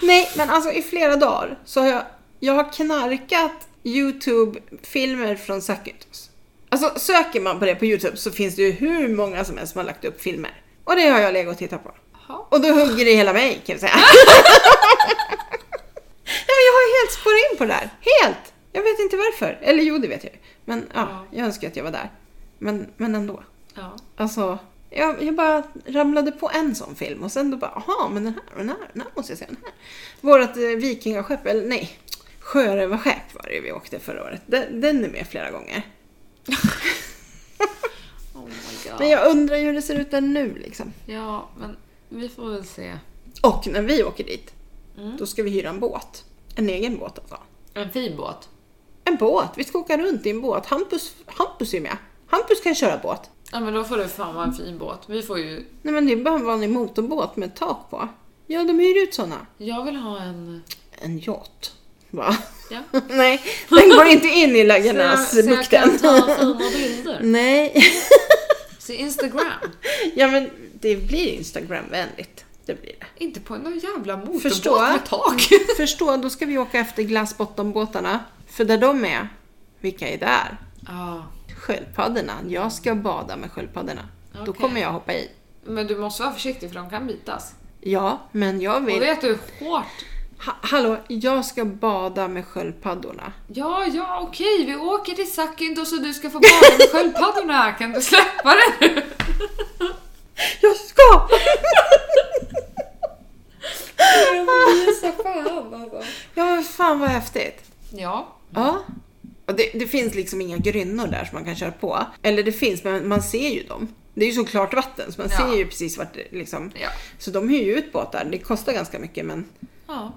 Speaker 1: Nej, men alltså i flera dagar så har jag, jag har knarkat YouTube-filmer från Sakytos. Alltså söker man på det på YouTube så finns det ju hur många som helst som har lagt upp filmer. Och det har jag legat och tittat på.
Speaker 2: Jaha.
Speaker 1: Och då hugger det i hela mig kan jag säga. Nej men jag har ju helt spårat in på det här. Helt! Jag vet inte varför. Eller jo, det vet jag ju. Men ja,
Speaker 2: Ja.
Speaker 1: jag önskar att jag var där. Men, men ändå.
Speaker 2: Ja.
Speaker 1: Alltså, jag, jag bara ramlade på en sån film och sen då bara, aha, men den här och den här, den här måste jag se, den här. Vårat eh, vikingaskepp, eller nej, sjörövarskepp var det vi åkte förra året. Den, den är med flera gånger.
Speaker 2: Oh my god.
Speaker 1: Men jag undrar ju hur det ser ut där nu liksom.
Speaker 2: Ja, men vi får väl se.
Speaker 1: Och när vi åker dit,
Speaker 2: Mm.
Speaker 1: då ska vi hyra en båt. En egen båt alltså.
Speaker 2: En fin båt.
Speaker 1: En båt, vi ska åka runt i en båt. Hampus, Hampus är med. Hampus kan köra båt.
Speaker 2: Ja men då får du fan vara en fin båt. Vi får ju...
Speaker 1: Nej men det är bara en vanlig motorbåt med tak på. Ja, de hyr ut såna.
Speaker 2: Jag vill ha en...
Speaker 1: En yacht. Va?
Speaker 2: Ja.
Speaker 1: Nej, den går inte in i
Speaker 2: jag kan
Speaker 1: lägenhetsbukten.
Speaker 2: ta fina bilder.
Speaker 1: Nej,
Speaker 2: Se Instagram.
Speaker 1: ja men det blir Instagramvänligt. Det blir det.
Speaker 2: Inte på någon jävla
Speaker 1: Förstå.
Speaker 2: motorbåt med tak.
Speaker 1: Förstå, då ska vi åka efter glassbottenbåtarna. För där de är, vilka är där?
Speaker 2: Ja.
Speaker 1: Sköldpaddorna. Jag ska bada med sköldpaddorna. Då
Speaker 2: Okej.
Speaker 1: kommer jag hoppa i.
Speaker 2: Men du måste vara försiktig för de kan bitas.
Speaker 1: Ja, men jag
Speaker 2: Och
Speaker 1: vill...
Speaker 2: vet du hur hårt...
Speaker 1: Ha hallå, jag ska bada med sköldpaddorna.
Speaker 2: Ja, ja, okej, vi åker till Sakintos och du ska få bada med sköldpaddorna. Kan du släppa det nu?
Speaker 1: Jag ska! Ja, men fan vad häftigt.
Speaker 2: Ja,
Speaker 1: Ja. Och det, det finns liksom inga grynnor där som man kan köra på. Eller det finns, men man ser ju dem. Det är ju så klart vatten, så man
Speaker 2: Ja.
Speaker 1: ser ju precis vart det liksom...
Speaker 2: ja,
Speaker 1: Så de hyr ju ut båtar. Det kostar ganska mycket, men
Speaker 2: ja,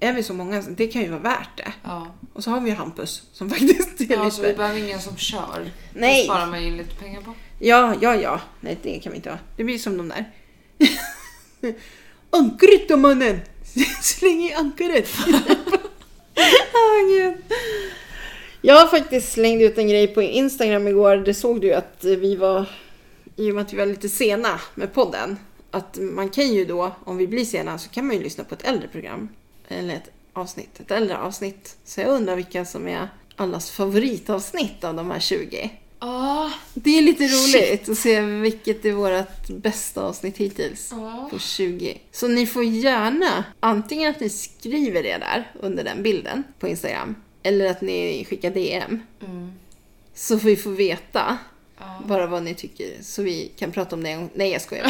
Speaker 1: är vi så många, så det kan ju vara värt det.
Speaker 2: ja.
Speaker 1: Och så har vi ju Hampus, som faktiskt är
Speaker 2: ja så vi
Speaker 1: lite...
Speaker 2: behöver ingen som kör.
Speaker 1: Nej.
Speaker 2: Det sparar man ju lite pengar på.
Speaker 1: Ja, ja, ja. Nej, det kan vi inte ha. Det blir som de där. Ankaret då mannen! Släng i ankaret! Åh gud. Jag faktiskt slängde ut en grej på Instagram igår. Det såg du ju att vi var, i och med att vi var lite sena med podden, att man kan ju då, om vi blir sena, så kan man ju lyssna på ett äldre program. Eller ett avsnitt, ett äldre avsnitt. Så jag undrar vilka som är allas favoritavsnitt av de här 20.
Speaker 2: Ja,
Speaker 1: Det är lite roligt att se vilket är vårt bästa avsnitt hittills.
Speaker 2: ja.
Speaker 1: På 20. Så ni får gärna antingen att ni skriver det där under den bilden på Instagram. Eller att ni skickar DM.
Speaker 2: Mm.
Speaker 1: Så vi får veta
Speaker 2: Ja.
Speaker 1: bara vad ni tycker. Så vi kan prata om det en gång. Nej jag skojar.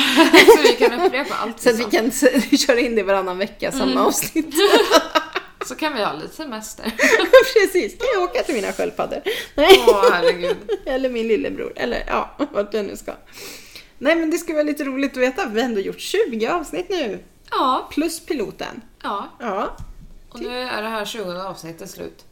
Speaker 2: Så vi kan upprepa allt.
Speaker 1: Så att vi
Speaker 2: liksom.
Speaker 1: kan s- köra in det varannan vecka,
Speaker 2: Mm.
Speaker 1: samma avsnitt.
Speaker 2: Så kan vi ha lite semester.
Speaker 1: Precis, kan jag åka till mina sköldpaddor? Nej.
Speaker 2: Åh herregud.
Speaker 1: Eller min lillebror. Eller ja, vart jag nu ska. Nej men det skulle vara lite roligt att veta. Vi har ändå gjort 20 avsnitt nu.
Speaker 2: Ja,
Speaker 1: Plus piloten.
Speaker 2: ja.
Speaker 1: Ja.
Speaker 2: Och nu är det här 20 avsnittet slut.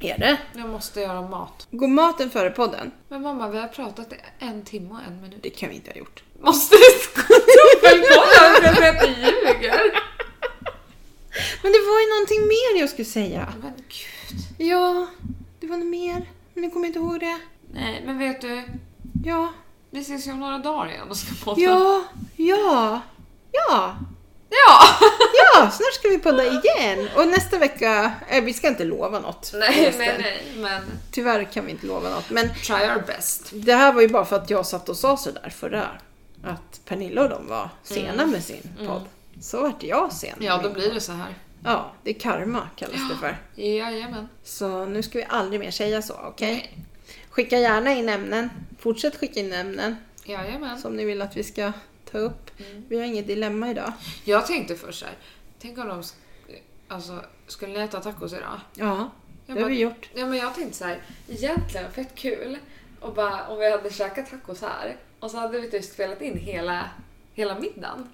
Speaker 1: Är det?
Speaker 2: Jag måste göra mat.
Speaker 1: Går maten före podden?
Speaker 2: Men mamma, vi har pratat i en timme och en minut.
Speaker 1: Det kan vi inte ha gjort.
Speaker 2: Måste vi dubbelkolla för att vi ljuger?
Speaker 1: Men det var ju någonting mer jag skulle säga.
Speaker 2: Men gud.
Speaker 1: Ja, det var något mer. Men nu kommer jag inte ihåg det.
Speaker 2: Nej, men vet du?
Speaker 1: Ja,
Speaker 2: Vi ses ju om några dagar igen och ska podda.
Speaker 1: ja, ja, ja.
Speaker 2: Ja!
Speaker 1: Ja, snart ska vi podda igen. Och nästa vecka, eh, vi ska inte lova något.
Speaker 2: Nej,
Speaker 1: Förresten.
Speaker 2: nej, nej. Men
Speaker 1: Tyvärr kan vi inte lova något. Men
Speaker 2: try our best.
Speaker 1: det här var ju bara för att jag satt och sa sådär förra. Att Pernilla och de var sena med sin podd. Så vart jag sen.
Speaker 2: Mm. Ja, då blir det så här.
Speaker 1: ja, det är karma kallas det för.
Speaker 2: Jajamän.
Speaker 1: Så nu ska vi aldrig mer säga så, okej?
Speaker 2: Nej.
Speaker 1: Skicka gärna in ämnen. Fortsätt skicka in ämnen
Speaker 2: Jajamän.
Speaker 1: som ni vill att vi ska ta upp.
Speaker 2: Mm.
Speaker 1: Vi har inget dilemma idag.
Speaker 2: Jag tänkte först så här. Tänk om de... sk- Alltså, skulle ni äta tacos idag?
Speaker 1: Ja, det
Speaker 2: Jag
Speaker 1: har
Speaker 2: bara-
Speaker 1: vi gjort.
Speaker 2: Ja men jag tänkte så här, egentligen fett kul och bara, om vi hade käkat tacos här och så hade vi typ spelat in hela, hela middagen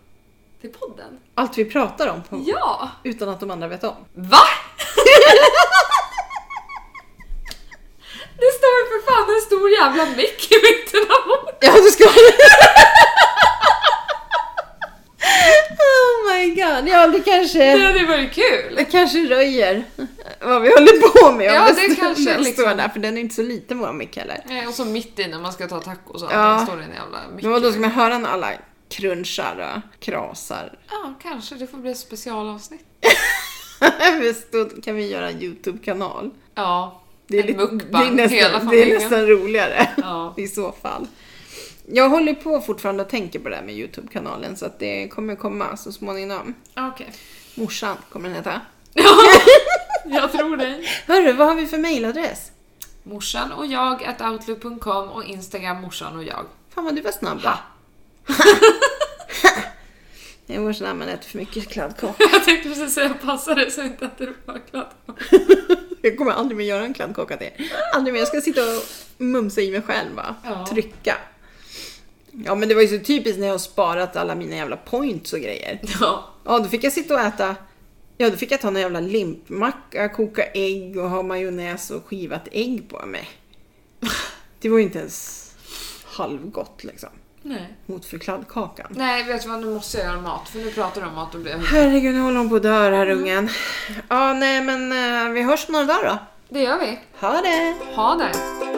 Speaker 2: till podden.
Speaker 1: Allt vi pratar om på,
Speaker 2: Ja!
Speaker 1: utan att de andra vet om.
Speaker 2: Va? Det står ju för fan en stor jävla mick i mitten av bordet!
Speaker 1: Ja, du ska... oh my god. Ja, det
Speaker 2: Det
Speaker 1: kanske,
Speaker 2: hade ju varit kul!
Speaker 1: det kanske röjer vad vi håller på med. om
Speaker 2: Ja, det
Speaker 1: står-
Speaker 2: kanske
Speaker 1: den
Speaker 2: liksom-
Speaker 1: står där, för den är inte så liten vår mick heller.
Speaker 2: Nej, Eh, Och så mitt i när man ska ta tacos och
Speaker 1: Ja.
Speaker 2: allting står det en jävla mick.
Speaker 1: Men då ska man höra när alla crunchar och krasar.
Speaker 2: Ja, kanske det får bli ett specialavsnitt.
Speaker 1: Visst, då kan vi göra en YouTube-kanal.
Speaker 2: Ja,
Speaker 1: Det är,
Speaker 2: en
Speaker 1: lite-
Speaker 2: mukbang,
Speaker 1: det är,
Speaker 2: hela
Speaker 1: nästan, det
Speaker 2: familjen.
Speaker 1: är nästan roligare
Speaker 2: Ja.
Speaker 1: i så fall. Jag håller på fortfarande och tänker på det här med YouTube-kanalen så att det kommer komma så småningom.
Speaker 2: Okej.
Speaker 1: Morsan kommer den heta.
Speaker 2: Jag tror dig.
Speaker 1: Hörru, vad har vi för mailadress?
Speaker 2: Morsan och jag at outlook.com och Instagram morsan och jag.
Speaker 1: Fan vad du var snabb då. Det är vår sån där man äter för mycket kladdkaka.
Speaker 2: Jag tänkte precis säga passa dig så inte att du bara kladd.
Speaker 1: Jag kommer aldrig mer göra en kladdkaka till er. Aldrig mer. Jag ska sitta och mumsa i mig själv bara.
Speaker 2: Ja.
Speaker 1: Trycka. Ja men det var ju så typiskt när jag har sparat alla mina jävla points och grejer.
Speaker 2: Ja.
Speaker 1: Ja, då fick jag sitta och äta Ja, då fick jag ta någon jävla limpmacka, koka ägg och ha majonnäs och skivat ägg på mig. Det var ju inte ens halvgott liksom.
Speaker 2: Nej.
Speaker 1: Mot förkladdkakan.
Speaker 2: Nej, vet du vad? Nu måste jag göra mat. För nu pratar du om mat och blir
Speaker 1: Herregud, nu håller hon på att dö den här ungen. Ja, nej men eh, vi hörs om några dagar då.
Speaker 2: Det gör vi.
Speaker 1: Ha det!
Speaker 2: Ha det!